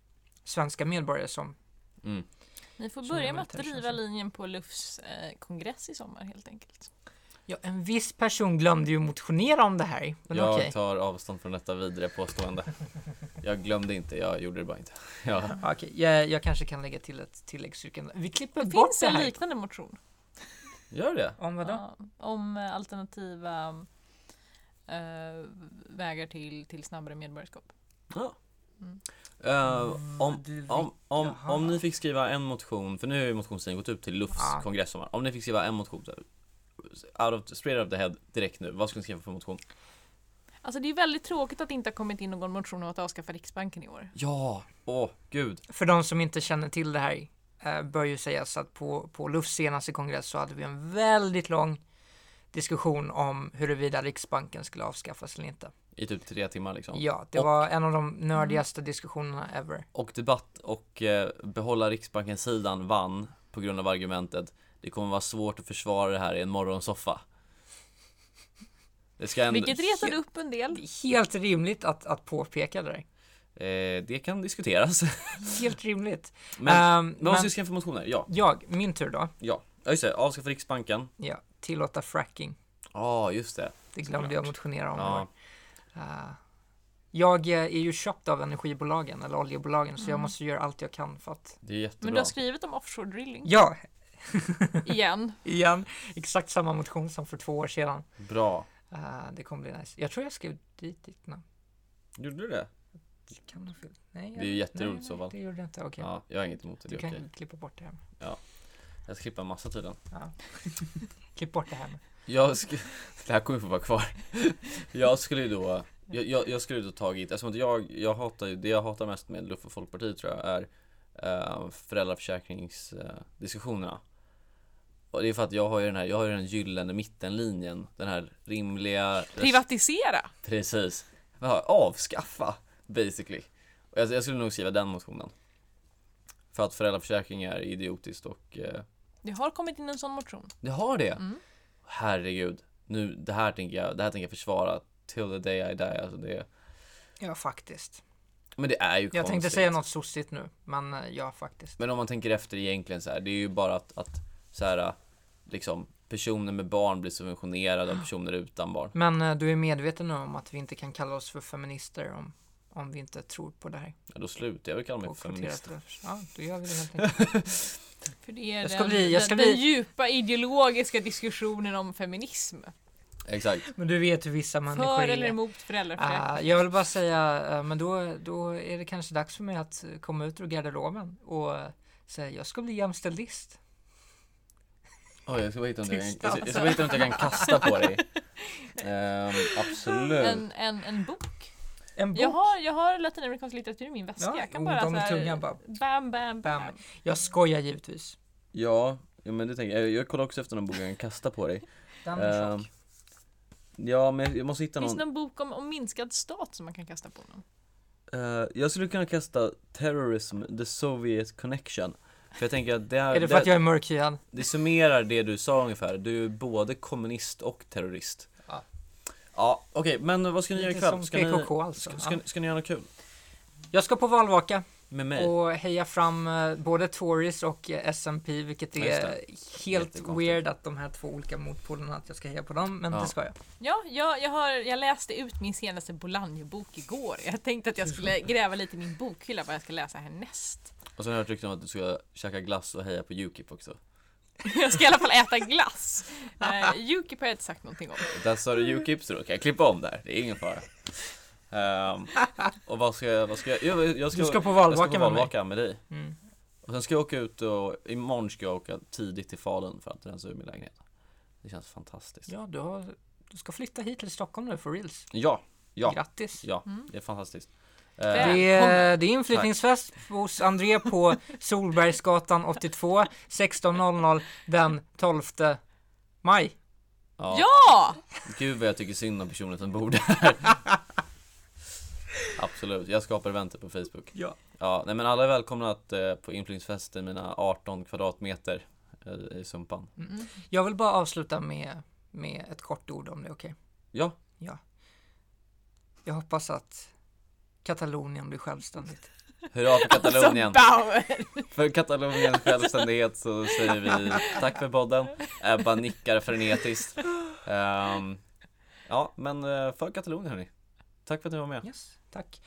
[SPEAKER 2] svenska medborgare som
[SPEAKER 1] Mm.
[SPEAKER 3] Ni får
[SPEAKER 2] Som
[SPEAKER 3] börja
[SPEAKER 2] en
[SPEAKER 3] med att
[SPEAKER 2] militär
[SPEAKER 3] driva
[SPEAKER 2] tjänst.
[SPEAKER 3] linjen på Lufs eh, kongress i sommar helt enkelt.
[SPEAKER 2] Ja, en viss person glömde ju motionera om det här. Men
[SPEAKER 1] Jag
[SPEAKER 2] okej.
[SPEAKER 1] tar avstånd från detta vidriga påstående. Jag glömde inte, jag gjorde det bara inte. Ja,
[SPEAKER 2] Ja, Okej, jag, jag kanske kan lägga till ett tilläggsyrkande. Vi klipper
[SPEAKER 3] Det
[SPEAKER 2] bort
[SPEAKER 3] finns
[SPEAKER 2] det
[SPEAKER 3] en
[SPEAKER 2] här.
[SPEAKER 3] liknande motion.
[SPEAKER 1] gör det.
[SPEAKER 2] Om vadå?
[SPEAKER 3] Ja, om eh, alternativa eh, vägar till, till snabbare medborgarskap.
[SPEAKER 1] Ja.
[SPEAKER 3] Mm.
[SPEAKER 1] Eh, om,
[SPEAKER 2] du vet-
[SPEAKER 1] Om, om,
[SPEAKER 2] Jaha.
[SPEAKER 1] om ni fick skriva en motion, för nu har ju motionstiden gått ut till Lufs
[SPEAKER 2] Ja.
[SPEAKER 1] kongress sommar. Om ni fick skriva en motion, så här, out of, straight out of the head direkt nu, vad skulle ni skriva för motion?
[SPEAKER 3] Alltså det är väldigt tråkigt att det inte har kommit in någon motion om att avskaffa Riksbanken i år.
[SPEAKER 1] Ja, åh gud.
[SPEAKER 2] För de som inte känner till det här eh, bör ju sägas att på, på Lufs senaste kongress så hade vi en väldigt lång diskussion om huruvida Riksbanken skulle avskaffas eller inte.
[SPEAKER 1] I typ tre timmar liksom.
[SPEAKER 2] Ja, det
[SPEAKER 1] Och-
[SPEAKER 2] var en av de
[SPEAKER 3] Mm.
[SPEAKER 2] nördigaste diskussionerna ever.
[SPEAKER 1] Och debatt och eh, behålla Riksbanken-sidan vann på grund av argumentet det kommer vara svårt att försvara det här i en morgonsoffa. Det ska ändå,
[SPEAKER 3] Vilket retade upp en del.
[SPEAKER 2] Det är helt rimligt att, att påpeka det där.
[SPEAKER 1] eh, det kan diskuteras.
[SPEAKER 2] Helt rimligt.
[SPEAKER 1] Men
[SPEAKER 2] Ehm,
[SPEAKER 1] vad
[SPEAKER 2] men
[SPEAKER 1] ska vi skriva för motioner? Ja,
[SPEAKER 2] jag, min tur då.
[SPEAKER 1] ja. Ja, just det. Avskaffa Riksbanken.
[SPEAKER 2] Ja, tillåta fracking.
[SPEAKER 1] Ja, just det.
[SPEAKER 2] Det glömde jag motionera om. i
[SPEAKER 1] Ja.
[SPEAKER 2] år. Eh, jag eh, är ju köpt av energibolagen eller oljebolagen så jag
[SPEAKER 3] Mm.
[SPEAKER 2] måste göra allt jag kan för att...
[SPEAKER 1] Det är jättebra.
[SPEAKER 3] Men du har skrivit om offshore drilling
[SPEAKER 2] Ja,
[SPEAKER 3] igen.
[SPEAKER 2] igen. Exakt samma motion som för två år sedan.
[SPEAKER 1] Bra.
[SPEAKER 2] Eh, det kommer bli nice. Jag tror jag skrev dit ditt namn.
[SPEAKER 1] Gjorde du det?
[SPEAKER 2] Jag Kan ha fel. Nej,
[SPEAKER 1] Det är ju
[SPEAKER 2] jag-
[SPEAKER 1] jätteroligt
[SPEAKER 2] nej,
[SPEAKER 1] i så
[SPEAKER 2] nej,
[SPEAKER 1] fall.
[SPEAKER 2] Det gjorde jag inte. Okej.
[SPEAKER 1] Ja, jag har inget emot det. Det är
[SPEAKER 2] Du kan
[SPEAKER 1] okej.
[SPEAKER 2] klippa bort det här.
[SPEAKER 1] Jag ska klippa en massa tydligen.
[SPEAKER 2] Ja. Klipp bort det här.
[SPEAKER 1] Jag sk- det här kommer ju få vara kvar. Jag skulle ju då, jag, jag, jag skulle ju då tagit, eftersom att jag, jag hatar ju, det jag hatar mest med Luff och Folkpartiet tror jag är eh, föräldraförsäkringsdiskussionerna. Och det är för att jag har ju den här, jag har ju den gyllene mittenlinjen. Den här rimliga...
[SPEAKER 3] Privatisera!
[SPEAKER 1] Precis. Ja, avskaffa, basically. Och jag, jag skulle nog skriva den motionen. För att föräldraförsäkring är idiotiskt och eh,
[SPEAKER 3] Det har kommit in en sån motion.
[SPEAKER 1] det har det.
[SPEAKER 3] Mm.
[SPEAKER 1] Herregud. Nu, det här tänker jag, det här tänker jag försvara till the day I die. Alltså det,
[SPEAKER 2] Ja, faktiskt.
[SPEAKER 1] men det är ju
[SPEAKER 2] Jag
[SPEAKER 1] konstigt.
[SPEAKER 2] tänkte säga något sossigt nu, men eh, ja, faktiskt.
[SPEAKER 1] Men om man tänker efter egentligen så här, det är ju bara att, att så här, liksom personer med barn blir subventionerade av personer utan barn.
[SPEAKER 2] Men eh, du är medveten nu om att vi inte kan kalla oss för feminister om, om vi inte tror på det här.
[SPEAKER 1] Ja, då slutar jag väl kalla mig
[SPEAKER 2] Och
[SPEAKER 1] för feminist.
[SPEAKER 2] kvoterat röst. Ja, då gör vi det helt enkelt.
[SPEAKER 3] För det är
[SPEAKER 2] Jag ska
[SPEAKER 3] den,
[SPEAKER 2] bli- jag ska
[SPEAKER 3] den, den
[SPEAKER 2] bli-
[SPEAKER 3] djupa ideologiska diskussionen om feminism.
[SPEAKER 1] Exakt.
[SPEAKER 2] Men du vet hur vissa människor
[SPEAKER 3] För
[SPEAKER 2] är.
[SPEAKER 3] eller emot föräldraförsäkring.
[SPEAKER 2] Ah, jag vill bara säga, eh, men då, då är det kanske dags för mig att eh, komma ut ur garderoben och eh, säga jag ska bli jämställdist.
[SPEAKER 1] Oj, jag ska bara hitta något jag, kan-
[SPEAKER 2] Tyst, alltså.
[SPEAKER 1] jag ska- jag ska bara hitta något jag kan kasta på dig. Ehm, absolut.
[SPEAKER 3] en, en, en bok.
[SPEAKER 2] En bok.
[SPEAKER 3] Jag har, jag har latinamerikansk litteratur i min väska.
[SPEAKER 2] Ja,
[SPEAKER 3] jag kan
[SPEAKER 2] oh,
[SPEAKER 3] bara
[SPEAKER 2] de
[SPEAKER 3] så här,
[SPEAKER 2] tunga bara-
[SPEAKER 3] Bam, bam, bam.
[SPEAKER 2] Bam. Jag skojar givetvis.
[SPEAKER 1] Ja, ja, men det tänker jag. Jag kollar också efter någon bok jag kan kasta på dig.
[SPEAKER 2] Den är
[SPEAKER 1] Ehm,
[SPEAKER 2] tjock.
[SPEAKER 1] Ja, men jag måste hitta
[SPEAKER 3] Finns
[SPEAKER 1] någon.
[SPEAKER 3] det någon bok om, om minskad stat som man kan kasta på någon?
[SPEAKER 1] Eh, jag skulle kunna kasta Terrorism, The Soviet Connection. För jag tänker att det, är,
[SPEAKER 2] Är det för
[SPEAKER 1] det,
[SPEAKER 2] att jag är mörkhyad?
[SPEAKER 1] det summerar det du sa ungefär. Du är både kommunist och terrorist.
[SPEAKER 2] Ja.
[SPEAKER 1] Ja, okej, men vad ska ni göra
[SPEAKER 2] Lite
[SPEAKER 1] ikväll?
[SPEAKER 2] som
[SPEAKER 1] Ska ni,
[SPEAKER 2] PKK alltså.
[SPEAKER 1] ska, ska,
[SPEAKER 2] Ja.
[SPEAKER 1] ni göra något kul?
[SPEAKER 2] Jag ska på valvaka
[SPEAKER 1] Med mig?
[SPEAKER 2] och heja fram eh, både Tories och eh, S&P vilket
[SPEAKER 1] Ja, just
[SPEAKER 2] är
[SPEAKER 1] det.
[SPEAKER 2] helt
[SPEAKER 1] Jättekonstigt.
[SPEAKER 2] weird att de här två olika motpolerna att jag ska heja på dem, men
[SPEAKER 1] Ja.
[SPEAKER 2] det ska jag.
[SPEAKER 3] Ja, jag, jag, har, jag läste ut min senaste Bolaño-bok igår. Jag tänkte att jag skulle gräva lite i min bokhylla vad jag ska läsa härnäst.
[SPEAKER 1] Och sen har jag hört rykten om att du ska käka glass och heja på Ukip också.
[SPEAKER 3] Jag ska i alla fall äta glass. Eh, Yuki har jag inte sagt någonting om.
[SPEAKER 1] Där sa du Ukip så då kan jag klippa om där, det är ingen fara. Ehm, och vad ska jag, vad ska jag, jag, jag ska,
[SPEAKER 2] Du ska på
[SPEAKER 1] jag
[SPEAKER 2] valvaka,
[SPEAKER 1] ska på
[SPEAKER 2] med mig.
[SPEAKER 1] valvaka med dig.
[SPEAKER 2] Mm.
[SPEAKER 1] Och sen ska jag åka ut och imorgon ska jag åka tidigt till Falun för att rensa ur min lägenhet. Det känns fantastiskt.
[SPEAKER 2] Ja, du, har, du ska flytta hit till Stockholm nu för reals.
[SPEAKER 1] Ja, ja,
[SPEAKER 2] Grattis!
[SPEAKER 1] ja, det är fantastiskt.
[SPEAKER 3] Väl.
[SPEAKER 1] Eh,
[SPEAKER 2] Det är, det är inflyttningsfest hos André på Solbergsgatan 82 16.00 den 12 maj.
[SPEAKER 1] ja,
[SPEAKER 3] Ja!
[SPEAKER 1] Gud vad jag tycker synd om personen som bor där. Absolut, jag skapar eventer på Facebook.
[SPEAKER 2] Ja.
[SPEAKER 1] Ja, nej men alla är välkomna att, eh, på inflyttningsfesten, mina 18 kvadratmeter eh, i Sumpan.
[SPEAKER 2] Jag vill bara avsluta med, med ett kort ord om det, okej?
[SPEAKER 1] Ja,
[SPEAKER 2] Jag hoppas att Katalonien blir självständigt.
[SPEAKER 1] hurra för Katalonien!
[SPEAKER 3] Alltså, Bauer!
[SPEAKER 1] För Kataloniens självständighet så säger vi tack för podden. Ebba nickar frenetiskt. Ehm, ja, men eh, för Katalonien hörni. Tack för att ni var med.
[SPEAKER 2] Yes, tack.